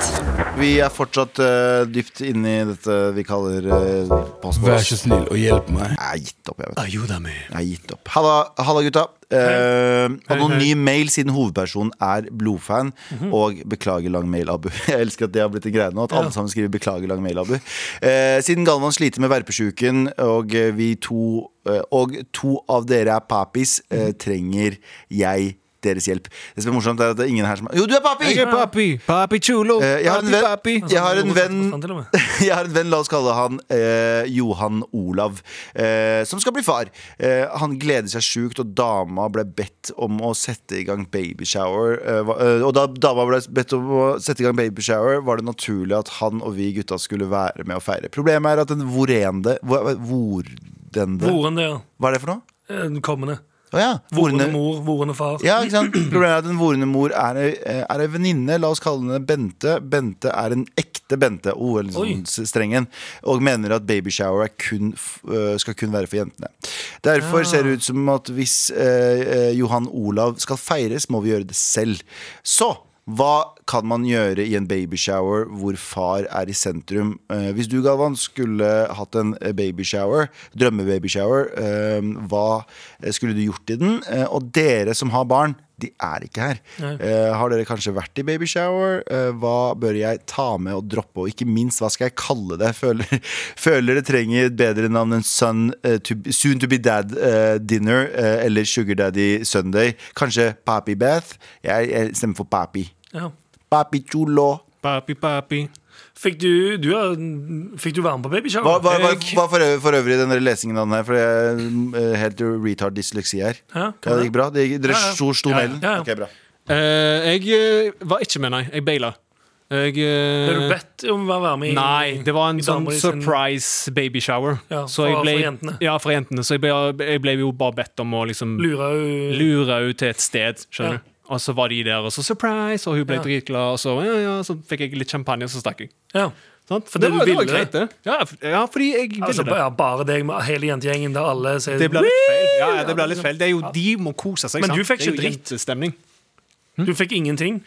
B: Vi er fortsatt eh, dypt inne i dette vi kaller uh,
F: Vær så snill og hjelp meg.
B: Jeg har gitt opp, jeg vet
D: Ayuda me.
B: Jeg har gitt opp Halla, halla gutta Eh, Anonym mail siden hovedpersonen er blodfan
D: Mhm.
B: Og beklager lang mail, Abu Jeg elsker at det har blitt en greie nå At alle sammen skriver beklager lang mail, Abu Eh, Siden Galvan sliter med verpesjuken Og eh, vi to eh, Og to av dere er papis eh,
D: Mhm.
B: Trenger jeg deres hjelp Det som er morsomt er at det er ingen her som er Jo, du er papi!
D: Jeg er papi. Papi chulo.
B: Eh, jeg har en
D: Papi,
B: venn-
D: papi.
B: Jeg har en venn
C: Til og med.
B: jeg har en venn, la oss kalle han eh, Johan Olav, eh, som skal bli far. Eh, han gleder seg sjukt, og dama ble bedt om å sette i gang babyshower. Eh, hva- eh, og da dama ble bedt om å sette i gang babyshower, var det naturlig at han og vi gutta skulle være med å feire. Problemet er at den vorende hva- hva- Vordende?
C: Voren der.
B: Hva er det for noe?
C: eh, Den kommende.
B: Å ja. Vorende.
C: Vorende mor, vorende far.
B: Ja, ikke sant? Problemet er at en vorende mor er ei, er ei venninne. La oss kalle henne Bente. Bente er en ekte Bente. Oh, eller
C: Oi.
B: sånn s- strengen. Og mener at babyshower kun, f- øh, skal kun være for jentene. Derfor ser det ut som at øh, hvis eh, eh, Johan Olav skal feires, må vi gjøre det selv. Så hva kan man gjøre i en babyshower hvor far er i sentrum? Eh, hvis du, Galvan, skulle hatt en babyshower, drømmebabyshower, eh, hva skulle du gjort i den? Eh, og dere som har barn, de er ikke her. Eh, har dere kanskje vært i babyshower? Eh, hva bør jeg ta med og droppe? Og ikke minst, hva skal jeg kalle det? Føler, føler det trenger et bedre navn enn son, eh, to, Soon to be dad eh, dinner eh, eller Sugar Daddy Sunday. Kanskje Papi Bath? Jeg, jeg stemmer for Papi.
C: Ja.
B: Papi chulo.
D: Papi, papi.
C: Fikk, du, du, har- fikk du være med på
B: Hva,
C: Eh, babyshower?
B: hva, hva, hva for, øvrig, for øvrig den der lesingen av den her? For jeg er helt retard dysleksi her.
C: Ja,
B: Ja, det gikk bra? Det gikk, dere
C: Ja, ja.
B: sto sto
C: Ja, ja.
B: mailen?
C: Ja, ja.
B: Ok, bra.
D: Eh, jeg eh, var ikke med, nei. Jeg baila. Jeg eh,
C: Ble du bedt om å være med? i-
D: Nei, det var en
C: i
D: sånn
C: damer i sin-
D: surprise babyshower.
C: Ja,
D: Så
C: fra-
D: jeg ble,
C: fra jentene.
D: Ja, fra jentene. Så jeg ble, jeg ble jo bare bedt om å liksom
C: Lura jo
D: lure henne til et sted,
C: Ja.
D: skjønner du. Og så var de der, og så surprise, og hun ble
C: Ja.
D: dritglad, og så, ja, ja, så fikk jeg litt champagne, og så stakk jeg.
C: ja.
D: Sant?
C: det du ville.
D: det. Ja, f- ja, fordi jeg ville
C: Altså,
D: det.
C: ja, bare deg med hele jentegjengen der alle sier
D: Det blir litt feil. Ja, ja, det blir litt feil. Det er jo de må kose seg,
C: Men du
D: sant?
C: fikk
D: Det er
C: ikke
D: jo
C: dritt.
D: jentestemning.
C: Du fikk ingenting?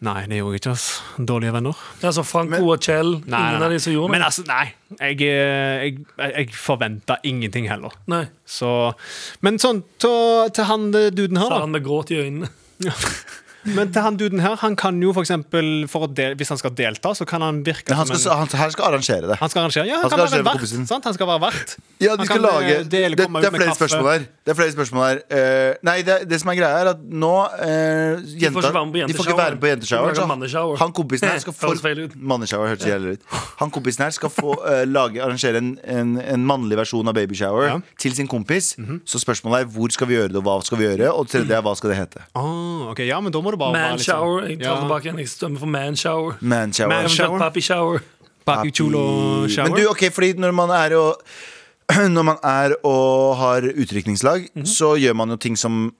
D: Nei, det gjorde jeg ikke, altså. Dårlige venner.
C: Altså Franco og Kjell,
D: Nei,
C: ingen
D: nei,
C: av de som
D: nei.
C: gjorde
D: Men
C: det?
D: altså, nei. Jeg, eh, jeg, jeg jeg forventa ingenting heller.
C: Nei,
D: Så, men sånn, til, til han eh, duden her,
C: sa
D: da.
C: han med gråt i øynene.
D: Men til han duden her, han kan jo for eksempel for å del, Hvis han skal delta, så kan han virke
B: Men han
D: som
B: skal,
D: en
B: han, her skal arrangere det.
D: han skal arrangere. Ja,
B: han
D: han,
B: skal
D: kan
B: arrangere for
D: være
B: kompisen.
D: vert. Sant? Han skal være vert.
B: Ja,
D: Han
B: de skal
D: kan, eh,
B: lage
D: dele-
B: Det,
D: komme
B: det
D: ut
B: er
D: med
B: flere
D: kaffe.
B: spørsmål her. Det er flere spørsmål her Eh, Nei, det, det som er greia, er at nå eh, jenta,
C: være med på
B: De får ikke være med på
C: jenteshoweren. De får lage
B: jenteshoweren. så
C: manneshower.
B: Han kompisen her skal
C: Det
B: få
C: høres feil ut.
B: Manneshower hørtes jævlig ut. Han kompisen her skal få eh, lage, arrangere en, en, en mannlig versjon av babyshower
D: Ja.
B: til sin kompis. Så spørsmålet er hvor skal vi gjøre det, og hva skal vi gjøre? Og det tredje er hva skal det hete?
D: Ah, ok, ja, men da må det bare være litt sånn-
C: Manshower. Jeg tar
D: Ja.
C: tilbake igjen. Jeg stemmer for manshower.
B: Manshower.
C: Eventuelt pappyshower.
D: Papi chulo shower.
B: Men du, ok, fordi når man er og Når man er og har utdrikningslag
C: Mhm.
B: Så gjør man jo ting som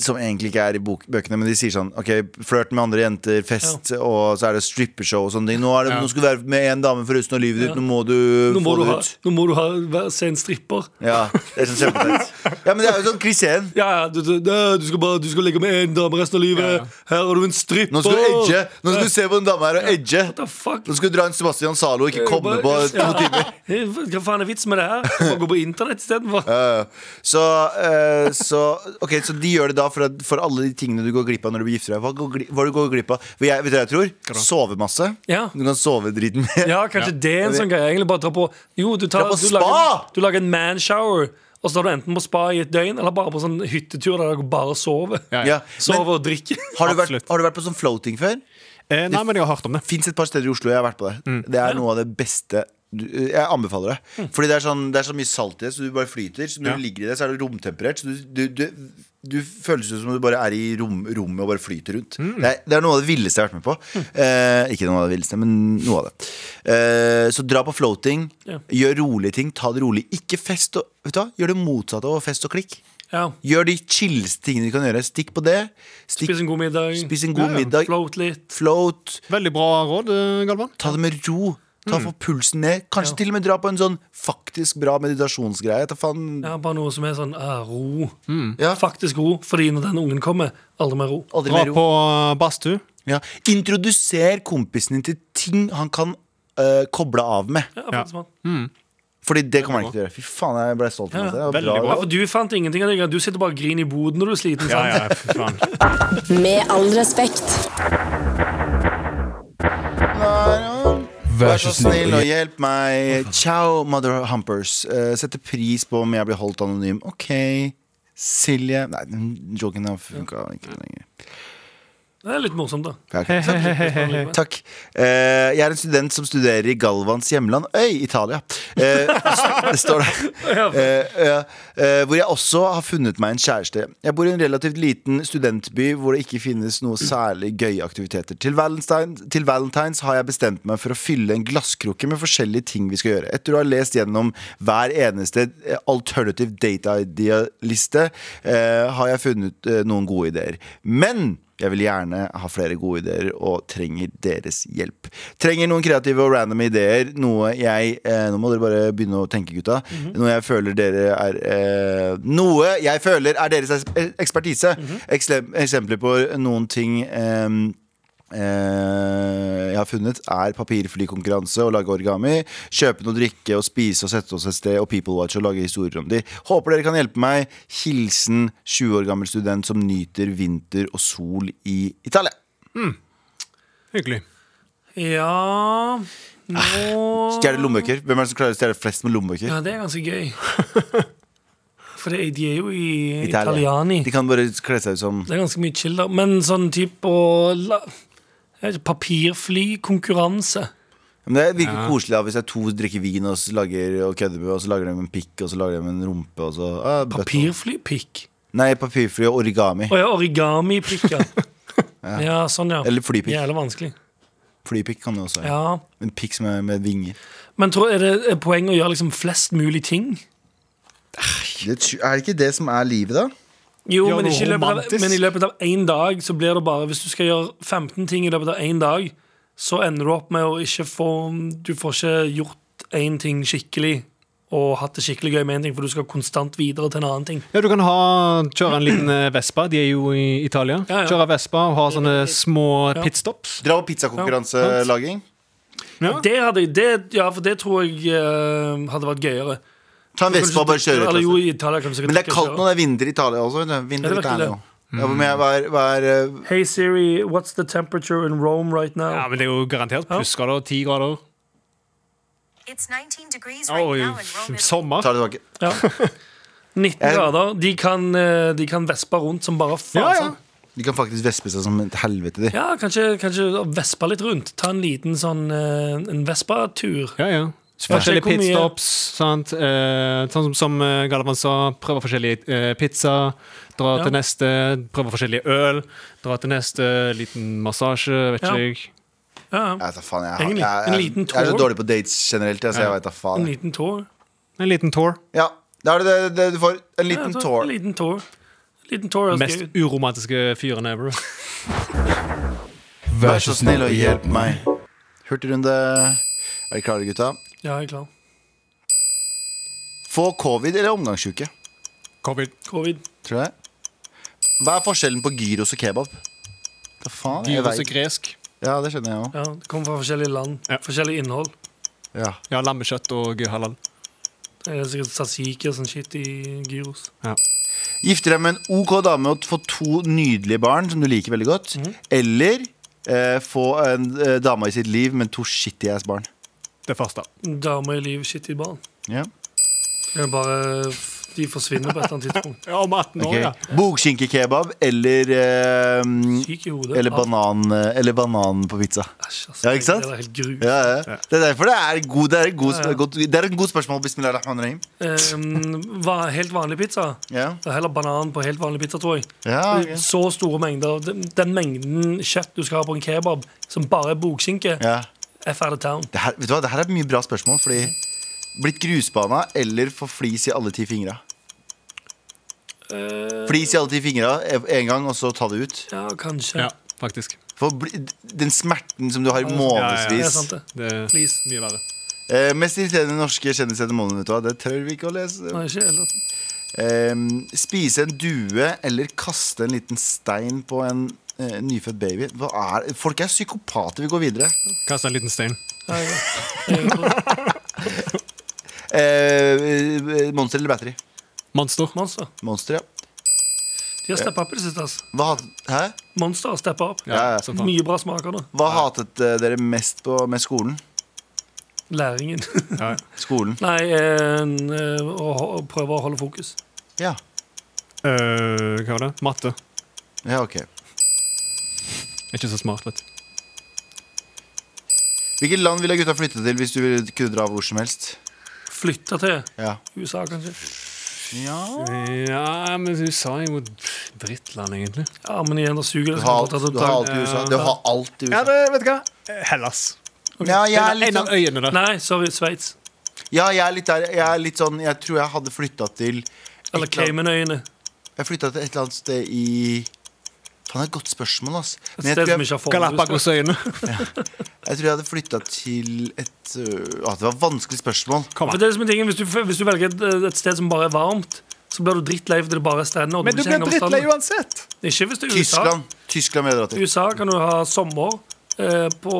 B: som egentlig ikke er i bok, bøkene Men de sier sånn, ok, flørten med andre jenter Fest, og så er det strippershow og sånne ting Nå, er det,
D: Ja.
B: nå skal du være med en dame for resten av livet ditt
C: Ja.
B: Nå må du
C: Nå må
B: få
C: du,
B: det
C: ha,
B: ut
C: nå må du ha, vær- se en stripper.
B: Ja, det er sånn kjempeteit Ja, men det er jo sånn klisjeen
C: Ja, ja, du, du, du, skal bare, du skal ligge med én dame resten av livet.
D: Ja, ja.
C: Her har du en stripper.
B: Nå skal du edge, nå skal du se på en dame her og edge
C: What the fuck?
B: Nå skal du dra en Sebastian Salo og ikke komme på to
C: Ja.
B: timer
C: Hva faen er vitsen med det her? Bare gå på internett istedenfor.
B: Ja, ja. Så, eh, så, ok, så de gjør det da for, at, for alle de tingene du går glipp av når du blir gifter deg. Hva, går gli- hva du går glipp av? For jeg, vet du hva jeg tror? Sove masse.
C: Ja.
B: Du kan sove driten med.
C: Ja, kanskje det er en sånn greie. Egentlig bare dra på Jo, du, tar,
B: Dra på
C: du,
B: spa!
C: lager, du lager en manshower, og så tar du enten på spa i et døgn, eller bare på sånn hyttetur der dere bare sover.
D: Ja,
B: Ja.
D: ja.
B: Men,
C: Sover og drikker.
B: har, du vært,
D: Absolutt.
B: har du vært på sånn floating før?
D: Eh, nei, men jeg har hørt om det.
B: Fins et par steder i Oslo jeg har vært på det. Det er noe av det beste du, Jeg anbefaler det. Fordi det er, sånn, det er så mye salt i det, så du bare flyter. Så når
D: Ja.
B: du ligger i det, så er det romtemperert. Så du, du, du, du føles ut som du bare er i rom, rommet og bare flyter rundt. Det, er, det er noe av det villeste jeg har vært med på. Eh, ikke noe av det villeste, men noe av det. Eh, så dra på floating.
C: Ja.
B: Gjør rolige ting. Ta det rolig. Ikke fest og Vet du hva? Gjør det motsatte av fest og klikk.
C: Ja.
B: Gjør de chilleste tingene du kan gjøre. Stikk på det. Stikk,
C: Spis en god middag.
B: spis en god
D: Ja, ja.
B: middag.
C: Float litt.
B: Float.
D: Veldig bra råd, eh, Galvan.
B: Ta det med ro. Ta
C: Mm.
B: for pulsen ned. Kanskje til og med dra på en sånn faktisk bra meditasjonsgreie. Ta faen
C: Ja, bare noe som er sånn ah, ro.
B: Mm. Ja.
C: Faktisk ro. Fordi når den ungen kommer, aldri mer ro.
B: aldri mer
D: Dra
B: ro.
D: på eh, badstue.
B: Ja. Introduser kompisen din til ting han kan øh, koble av med.
C: Ja, faktisk, man.
B: Fordi det kommer han ikke til å gjøre. Fy faen, jeg ble stolt av
C: Ja,
B: meg. selv. Det
D: veldig
B: var
D: bra.
B: bra.
C: ja, for du fant ingenting av det. Du sitter bare og griner i boden når du er sliten.
D: Ja,
C: Sant?
D: ja, fy faen.
E: Med all respekt.
F: Vær
B: Vær så snill og hjelp meg. Ciao, mother humpers. Eh, setter pris på om jeg blir holdt anonym. OK. Silje Nei, den joken har funka ikke lenger.
C: Det er litt morsomt, da.
B: Takk. Takk. Eh, jeg er en student som studerer i Galvans hjemland, øy, Italia. Eh, det står der. Eh, ja. eh, hvor jeg også har funnet meg en kjæreste. Jeg bor i en relativt liten studentby hvor det ikke finnes noe særlig gøye aktiviteter. Til, Valentine, til Valentines har jeg bestemt meg for å fylle en glasskrukke med forskjellige ting vi skal gjøre. Etter å ha lest gjennom hver eneste eh, alternative date idea-liste, eh, har jeg funnet eh, noen gode ideer. Men jeg vil gjerne ha flere gode ideer og trenger deres hjelp. Trenger noen kreative og random ideer, noe jeg eh, Nå må dere bare begynne å tenke, gutta. Noe jeg føler dere er eh, Noe jeg føler er deres es- ekspertise. Eksem- Eksempler på noen ting eh, eh, jeg har funnet, er papirflykonkurranse og lage origami. Kjøpe noe drikke og spise og sette oss et sted og people watch og lage historier om de. Håper dere kan hjelpe meg. Hilsen 20 år gammel student som nyter vinter og sol i Italia.
D: Hyggelig.
C: Ja Nå
B: Stjele lommebøker. Hvem er det som klarer å stjele flest med lommebøker?
C: Ja, det er ganske gøy. For det, de er jo i
B: Italia.
C: Italiani.
B: De kan bare kle seg ut som
C: Det er ganske mye chill, da. Men sånn type å la- jeg vet ikke, Papirflykonkurranse.
B: Men Det virker koselig da, hvis det er to drikker vin og, så lager, og kødder med, og så lager de en pikk og så lager de en rumpe. Og så, ah, bøtte.
C: Papirflypikk.
B: Nei, papirfly og origami.
C: Å ja, origamipikker. ja. ja, sånn, ja.
B: Eller flypikk.
C: Jævlig vanskelig.
B: Flypikk kan det også være.
C: Ja.
B: En pikk som er med vinger.
C: Men tror, er det er poenget å gjøre liksom flest mulig ting?
B: Det, er det ikke det som er livet, da?
C: Jo,
D: Gjør
C: men,
D: noe
C: ikke i løpet av,
D: romantisk.
C: men i løpet av én dag så blir det bare Hvis du skal gjøre 15 ting i løpet av én dag, så ender du opp med å ikke få Du får ikke gjort én ting skikkelig og hatt det skikkelig gøy med én ting, for du skal konstant videre til en annen ting.
D: Ja, Du kan ha, kjøre en liten eh, Vespa, de er jo i Italia.
C: Ja, ja.
D: Kjøre Vespa og ha sånne små pitstops.
B: Dra på pizzakonkurranselaging.
D: Ja.
C: Det hadde, det, ja, for det tror jeg eh, hadde vært gøyere.
B: Ta en Vespa og bare kjøre ut.
C: Eller jo,
B: altså.
C: i Italia kan du sikkert
B: Men det er
C: ikke
B: kaldt
C: kjøre.
B: nå. Det er vinter i Italia også. vet du. Vinter
C: Ja,
B: i
C: det var ikke
B: Italia
C: det.
B: også. Ja, men jeg var, var, eh,
C: Hey Siri, what's the temperature in Rome right now?
D: Ja, men Det er jo garantert plussgrader. Ti grader.
G: It's 19 degrees right
D: Oi,
G: now in Rome. is-
D: sommer.
B: Ta det tilbake.
C: 19
B: Jeg-
C: grader. De kan, eh, de kan vespe rundt som bare faen.
B: Altså.
D: Ja, ja.
B: De kan faktisk vespe seg som et helvete, de.
C: Ja, kanskje, kanskje vespe litt rundt. Ta en liten sånn eh, En vespa-tur.
D: Ja, ja. Forskjellige
C: Hvor mye-
D: pitstops. Sant? Eh, sånn som, som eh, Galvan sa, prøve forskjellige eh, pizza. Dra
C: Ja.
D: til neste, prøve forskjellige øl. Dra til neste, liten massasje, vet
C: Ja.
D: ikke jeg.
C: Ja, ja.
B: Jeg, vet da altså, faen, jeg, har-
C: Egentlig,
B: jeg,
C: en
B: jeg,
C: liten
B: jeg, er så
C: tour.
B: dårlig på dates generelt. Jeg, så jeg vet da faen.
C: En liten tår.
D: En liten tour.
B: Ja, da er det det, det du får. En
C: Ja,
B: liten
C: så-
B: tår.
C: En liten tår. En Liten tår er også
D: Mest
C: gøy.
D: uromantiske fyren ever.
B: Vær så snill og hjelp meg. Hurtigrunde. Er dere klare, gutta?
C: Ja, jeg er klar.
B: Få covid eller omgangsuke,
D: Covid.
C: Covid.
B: tror jeg. Hva er forskjellen på gyros og kebab? Hva faen? Jeg
D: Dyres og
B: vet.
D: gresk.
B: Ja, det skjønner jeg òg.
C: Ja, det kommer fra forskjellige land.
D: Ja.
C: Forskjellig innhold.
B: Ja.
D: Ja, lammekjøtt og halal.
C: Det er sikkert tzatziki og sånn shit i gyros.
B: Gifte deg med en OK dame og få to nydelige barn som du liker veldig godt. Eller eh, få en eh, dame i sitt liv, men to shitty ass barn.
D: Det første.
C: Damer i liv, shit i barn.
B: Ja.
C: Det er bare De forsvinner på et eller annet tidspunkt.
D: Ja, om 18
B: ok. Bogskinkekebab eller eh,
C: Syk i hodet.
B: Eller
C: Ah,
B: banan, eh, eller banan på pizza.
C: Æsj, altså.
B: Ja, ikke sant?
C: Det er helt gru.
B: Ja, ja. Det er derfor det er, god, det er, et god,
C: Ja, ja.
B: godt- det er en god spørsmål. Bismillah rahman rahim.
C: Ehm, va- helt vanlig pizza.
B: Ja.
C: Det er heller banan på helt vanlig pizza, tror jeg.
B: Ja, ok.
C: Så store mengder. Den, den mengden kjøtt du skal ha på en kebab, som bare er bokskinke,
B: ja.
C: F out of town.
B: Det, her, vet du hva? det her er mye bra spørsmål. Fordi Blitt grusbana eller få flis i alle ti fingra?
C: Eh,
B: Flis i alle ti fingra én gang, og så ta det ut.
C: ja, kanskje.
D: Ja, faktisk.
B: For bli, den smerten som du har i
C: Det er
B: månedsvis.
C: sant, det.
D: Det er
C: Please.
D: mye verre.
B: Eh, mest irriterende norske kjendiser etter måneden. vet du hva? Det tør vi ikke å lese.
C: Nei, ikke heller.
B: Eh, spise en due eller kaste en liten stein på en eh, nyfødt baby. Hva er, folk er psykopater. Vi går videre.
D: Kast en liten stein.
C: Nei, ja. Jeg tror-
B: Eh, monster eller battery?
D: Monster.
C: Monster.
B: Monster, ja.
C: De har steppa opp i det siste. ass.
B: Hva, hat- hæ?
C: Monster har steppa opp.
D: Ja,
B: Ja, ja.
D: som faen.
C: Mye bra smaker nå.
B: Hva hatet eh, dere mest på med skolen?
C: Læringen.
D: Ja.
B: Skolen.
C: Nei, en, eh, å, ho- å prøve å holde fokus.
B: Ja,
D: Eh, hva var det? Matte.
B: ja ok.
D: Ikke så smart, vet du.
B: Hvilket land ville gutta flytte til hvis du ville- kunne dra hvor som helst?
C: Flytte til
B: Ja.
C: USA, kanskje.
D: Ja, men USA er jo et drittland, egentlig.
C: Ja, men igjen, da
B: Du
C: suger det.
B: har alt,
C: sånn at det
B: du har
C: tar-
B: alt i USA. Du har alt i
D: Ja,
B: USA.
D: det, vet du hva? Hellas.
B: Ja, jeg er
D: Det er
B: litt
D: en av
B: sånn,
D: øyene der.
C: Nei, sorry, Sveits.
B: ja, jeg er litt der. Jeg er litt sånn Jeg tror jeg hadde flytta til et
C: Eller
B: eller annet-
C: Caymanøyene.
B: Jeg flytta til et eller annet sted i Faen, det er et godt spørsmål, ass.
C: Et
B: Men jeg
C: sted
B: tror
C: som
B: jeg,
C: ikke har forhus.
D: Galapagosøyene.
B: jeg, tror jeg hadde flytta til et øh, ah, Det var et vanskelig spørsmål.
D: Kom
C: For eh,
D: an.
C: det er liksom en ting, hvis, du, hvis du velger et, et sted som bare er varmt, Så blir du drittlei fordi det bare er strender. og
D: Men du
C: vil ikke
D: blir
C: henge over
D: drittlei
C: stranden.
D: uansett!
C: Ikke hvis du er i USA.
B: Tyskland. Tyskland vil jeg dra
C: I
B: til.
C: USA kan du ha sommer eh, på,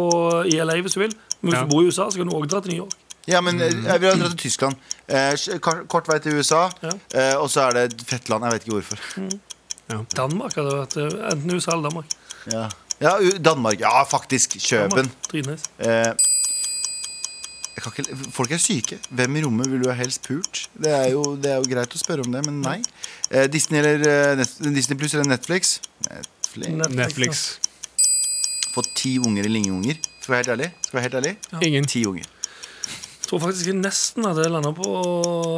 C: i LA hvis du vil. Men hvis
D: Ja.
C: du bor i USA, så kan du også dra til New York.
B: Ja, men eh, jeg vil dra til Tyskland. Eh, s- kort- kort vei til USA, eh, og så er det et fett land. Jeg vet ikke hvorfor.
C: Danmark hadde vært eh, enten USA eller Danmark.
B: Ja, ja U- Danmark. Ja, faktisk. Kjøben.
C: Danmark. Dritnice.
B: Eh, jeg kan ikke, folk er syke. Hvem i rommet ville du ha helst pult? Det er, jo, det er jo greit å spørre om det, men nei. Eh, Disney, eller, eh, Net, Disney Plus eller Netflix? Netflix.
D: Netflix.
B: Få ti unger eller ingen unger. Skal jeg være helt ærlig? Skal jeg være helt ærlig?
D: Ingen.
B: Ti unger.
C: Jeg tror faktisk jeg nesten hadde landa på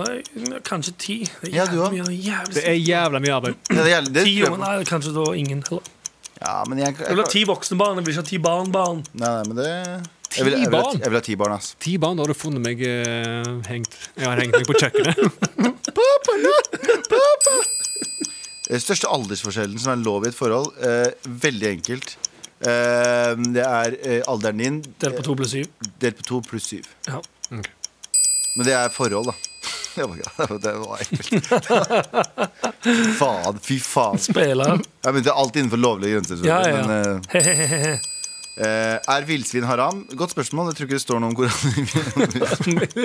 C: eh, kanskje ti. Det er
B: Ja, du også.
C: jævlig mye, og jævlig
D: Det er jævla mye arbeid.
B: Ja, det er, det
C: Ti
B: tror jeg på.
C: unger, nei, kanskje da ingen heller.
B: ja, men jeg, jeg,
C: Jeg vil ha ti voksne barn, jeg vil ikke ha ti barn-barn.
B: Nei, nei, men det jeg vil, jeg, vil, ha-
D: barn?
B: jeg vil ha ti barn, ass.
D: Ti barn, da har du funnet meg eh, hengt Jeg har hengt meg på kjøkkenet.
B: Eh, Største aldersforskjellen som er lov i et forhold, eh, veldig enkelt. Eh, det er eh, alderen din
C: Delt på to blir syv.
B: eh, delt på to pluss syv.
C: Ja.
B: Men det er forhold, da. Det var, ikke- det var ekkelt. faen, fy faen.
C: Spiller.
B: Jeg mente alt innenfor lovlige grenser. selvfølgelig,
C: Ja, ja, ja.
B: Men, eh, eh, er villsvin haram? Godt spørsmål. Jeg tror ikke det står noe om Koranen. det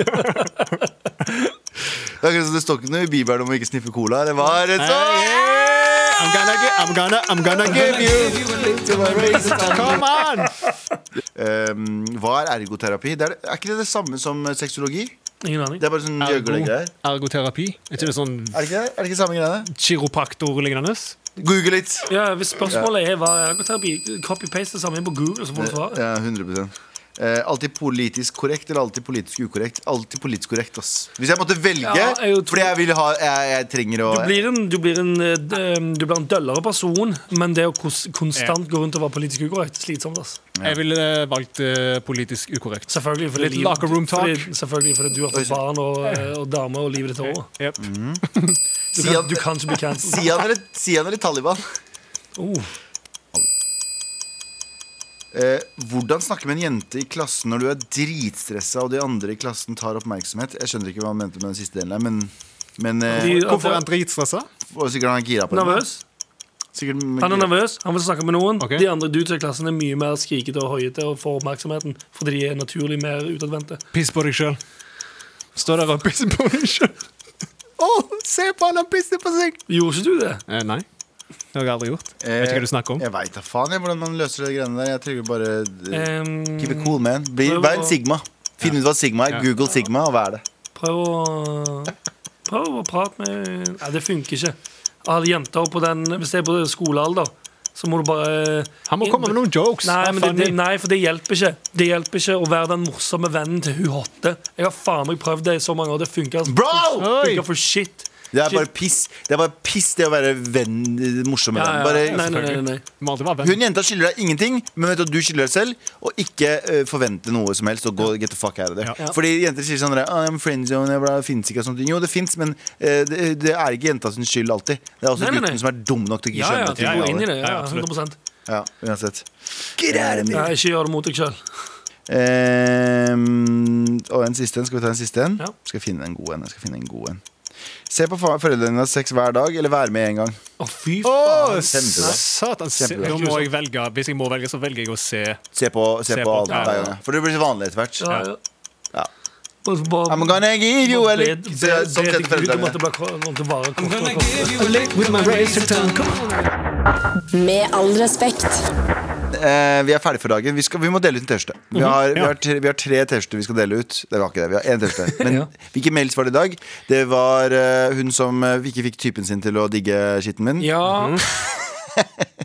B: er akkurat som det står ikke noe i Bibelen om å ikke sniffe cola. Eller hva er det så?
D: I'm gonna, gi- I'm gonna, I'm gonna give you Come on!
B: Eh, hva er ergoterapi? Det er, er ikke det det samme som sexologi?
C: Ingen aning.
B: Det er bare sånn gjøglegreier.
D: Ergoterapi? Er ikke det sånn
B: Er det ikke det? Er det ikke samme greiene?
D: kiropraktor-lignende?
B: Google litt.
C: Ja, hvis spørsmålet er hva er ergoterapi, copy-paste det samme inn på Google, så får du svaret.
B: Ja, 100 eh, Alltid politisk korrekt eller alltid politisk ukorrekt? Alltid politisk korrekt, ass. Hvis jeg måtte velge,
C: Ja, jeg jo tror-
B: fordi jeg vil ha Jeg, jeg trenger å
C: Du blir, en, du, blir en, eh, d- eh, du blir en døllere person, men det å kons konstant gå rundt og være politisk ukorrekt, slitsomt. ass
D: Jeg ville eh, valgt eh, politisk ukorrekt.
C: Selvfølgelig fordi,
D: Litt
C: livet-
D: locker room talk.
C: Fordi, selvfølgelig fordi du har fått barn og, eh, og dame og livet ditt er over.
D: Yep.
C: Du
B: Sian-
C: kan, du kan ikke bli cancelled.
B: Sian eller, Sian eller Taliban?
C: Oh,
B: Eh, hvordan snakke med en jente i klassen når du er dritstressa og de andre i klassen tar oppmerksomhet? Jeg skjønner ikke hva han mente med den siste delen der, men, men eh,
C: de-
D: Hvorfor er
C: at-
D: han dritstressa?
B: og Sikkert han er gira på det.
C: Nervøs?
B: Sikkert,
C: Han er nervøs, han vil snakke med noen.
D: Ok.
C: De andre dudes i klassen er mye mer skrikete og høyete og får oppmerksomheten fordi de er naturlig mer utadvendte.
D: Piss på deg sjøl. Stå der og pisse på deg sjøl. Å, se på han, han pisser på seg!
C: Gjorde ikke du det?
D: Eh, nei. Det har jeg aldri gjort. Jeg vet ikke hva du snakker om.
B: Eh, Jeg veit da faen jeg, hvordan man løser de greiene der. Jeg trenger bare eh,
C: Ehm,
B: Keep it cool, man. Bli,
C: prøv
B: vær
C: å-
B: en sigma. Finn ut hva sigma er.
D: Ja.
B: Google sigma og vær det.
C: prøv å Prøv å prate med Nei, det funker ikke. Alle jenter på den Hvis det er på skolealder, så må du bare
D: Han må komme med noen jokes.
C: Nei,
D: Vær
C: men det, det,
D: funny.
C: nei, for det hjelper ikke. Det hjelper ikke å være den morsomme vennen til hun hotte. Jeg har faen meg prøvd det i så mange år. Det funker altså.
B: Bro!
C: Det
D: Oi!
C: funker for shit.
B: Det er
C: Shit.
B: bare piss. Det er bare piss det å være venn, morsom med
C: Ja,
B: venn.
C: ja,
B: Bare,
C: nei, nei, nei, nei.
D: Må aldri være venn.
B: Hun jenta skylder deg ingenting, men vet du, at du skylder deg selv. Og ikke eh, forvente noe som helst. Og gå, get the fuck out of there
D: Ja.
B: Fordi jenter sier sånn der, ah, I'm friendzone, jeg bla, det finnes ikke og sånt. Jo, det fins, men eh, det, det er ikke jenta sin skyld alltid. Det er også
C: Nei, nei, nei.
B: gutten som er dum nok til ikke
C: Ja, ja,
B: skjønne
C: du går inn i det. Ja,
D: Ja, absolutt.
C: 100
B: Ja, uansett.
C: ja, Ikke gjør det mot deg sjøl.
B: Ehm, og en siste en. Skal vi ta en siste en?
C: Ja.
B: Skal jeg finne en god en. Jeg skal finne en god en. Se på fa- foreldrene dine ha sex hver dag, eller være med en gang.
C: Å, fy
D: Å,
C: faen.
B: Kjempebra.
D: satan. se-
B: Kjempebra.
D: Da må jeg velge. Hvis jeg må velge, så velger jeg å se.
B: Se på, se
D: Se
B: på
D: på.
B: alt
D: Ja,
B: hver
D: ja.
B: gang. ja. For det blir så vanlig etter hvert.
C: Ja, ja.
B: Ja.
C: Bare, bare,
B: I'm gonna give you a lick
C: be- be-
B: Så- Sånn
C: be-
B: setter
C: be- du
B: foreldrene
C: måtte
B: mine.
C: bare kom- kom til bare kort og kort.
E: Med all respekt.
B: Eh, Vi er ferdig for dagen. Vi, skal, vi må dele ut en T-skjorte.
C: Mhm.
B: Vi, har- vi,
D: ja.
B: har tre- vi har tre T-skjorter vi skal dele ut. Det var ikke det. Vi har én T-skjorte. Men
C: Ja.
B: hvilken mails var det i dag? Det var eh, hun som eh, ikke fikk typen sin til å digge skitten min.
C: Ja.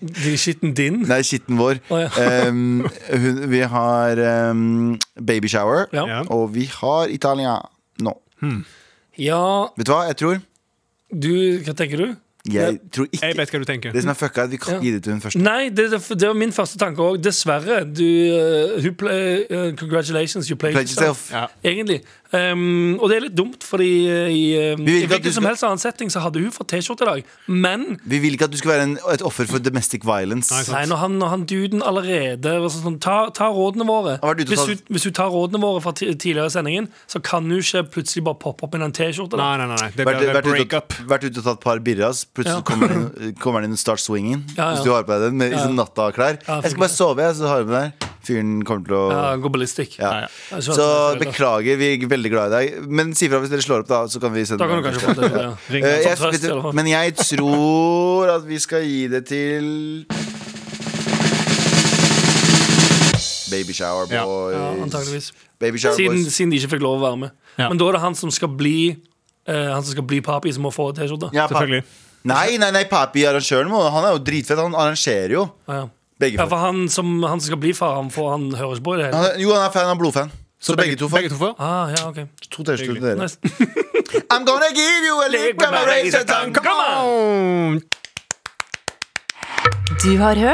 C: De skitten din.
B: Mm. Nei, skitten vår.
C: Å, ja.
B: Ehm, hun, vi har ehm, baby shower,
C: Ja.
D: Ja.
B: og vi har Italia nå.
C: ja,
B: Vet du hva jeg tror?
C: du Hva tenker du?
B: Jeg tror ikke
D: Jeg vet hva du tenker.
B: Det som er fucka, er at vi kan ikke gi det til hun første.
C: Nei, det, det det var min første tanke òg. Dessverre. Du, eh, hun play, eh, congratulations, you played
B: Pledge
C: yourself.
B: yourself.
D: Ja.
C: Egentlig. Um, og det er litt dumt, fordi eh, i, eh,
B: vil
C: i
B: ikke at du
C: hvilken som
B: skal-
C: helst annen setting så hadde hun fått T-skjorte i dag. Men
B: Vi vil ikke at du skal være en, et offer for domestic violence.
C: nei, når han, når han duden allerede var sånn, ta, ta rådene våre
B: Har vært ute og
C: hvis
B: tatt-
C: hun, hvis hun tar rådene våre fra ti- tidligere i sendingen, så kan hun ikke plutselig bare poppe opp med en T-skjorte.
D: Nei,
C: da.
D: nei, nei. nei. Det
B: Vært,
D: blir
B: vært, ute,
D: breakup.
B: og- vært ute og tatt et par birras, plutselig
C: Ja.
B: kommer han inn- kommer han inn og start swinging.
C: Ja, ja.
B: Hvis du har på deg den med i sånn nattaklær.
C: Ja,
B: jeg skal bare sove, jeg, så har jeg med den. Fyren kommer til å
C: Ja, gå ballistikk.
B: ja.
D: ja.
B: Så beklager, vi er veldig glad i deg. Men si fra hvis dere slår opp, da. Så kan vi sende
C: Da kan du kanskje få T-skjorte. Ja.
D: Ring
B: Eh,
D: en
B: jeg,
D: sånn
C: trøst,
B: vet du-
C: i alle fall.
B: men jeg tror at vi skal gi det til Baby Shower
D: Ja.
B: Boys.
C: Ja, antageligvis.
B: Baby Shower
C: Siden,
B: Boys.
C: siden de ikke fikk lov å være med.
D: Ja.
C: Men da er det han som skal bli eh, Han som skal bli papi, som må få T-skjorte.
B: Ja, pa-
D: Selvfølgelig.
B: Nei, nei, nei, papi arrangøren må Han er jo dritfett. Han arrangerer jo.
C: Ja, ja.
B: Begge
C: Ja,
B: to.
C: for han som, han som skal bli far, han, får, han hører ikke på i det hele
B: Han er, jo, han er fan, han er blodfan. Så, begge, to får
D: Begge to får.
C: ah, ja, ok.
B: to T-skjorter til dere.
C: Nice.
B: I'm gonna give you a Mm. lick of my razor tongue. Come on!
A: Du har hørt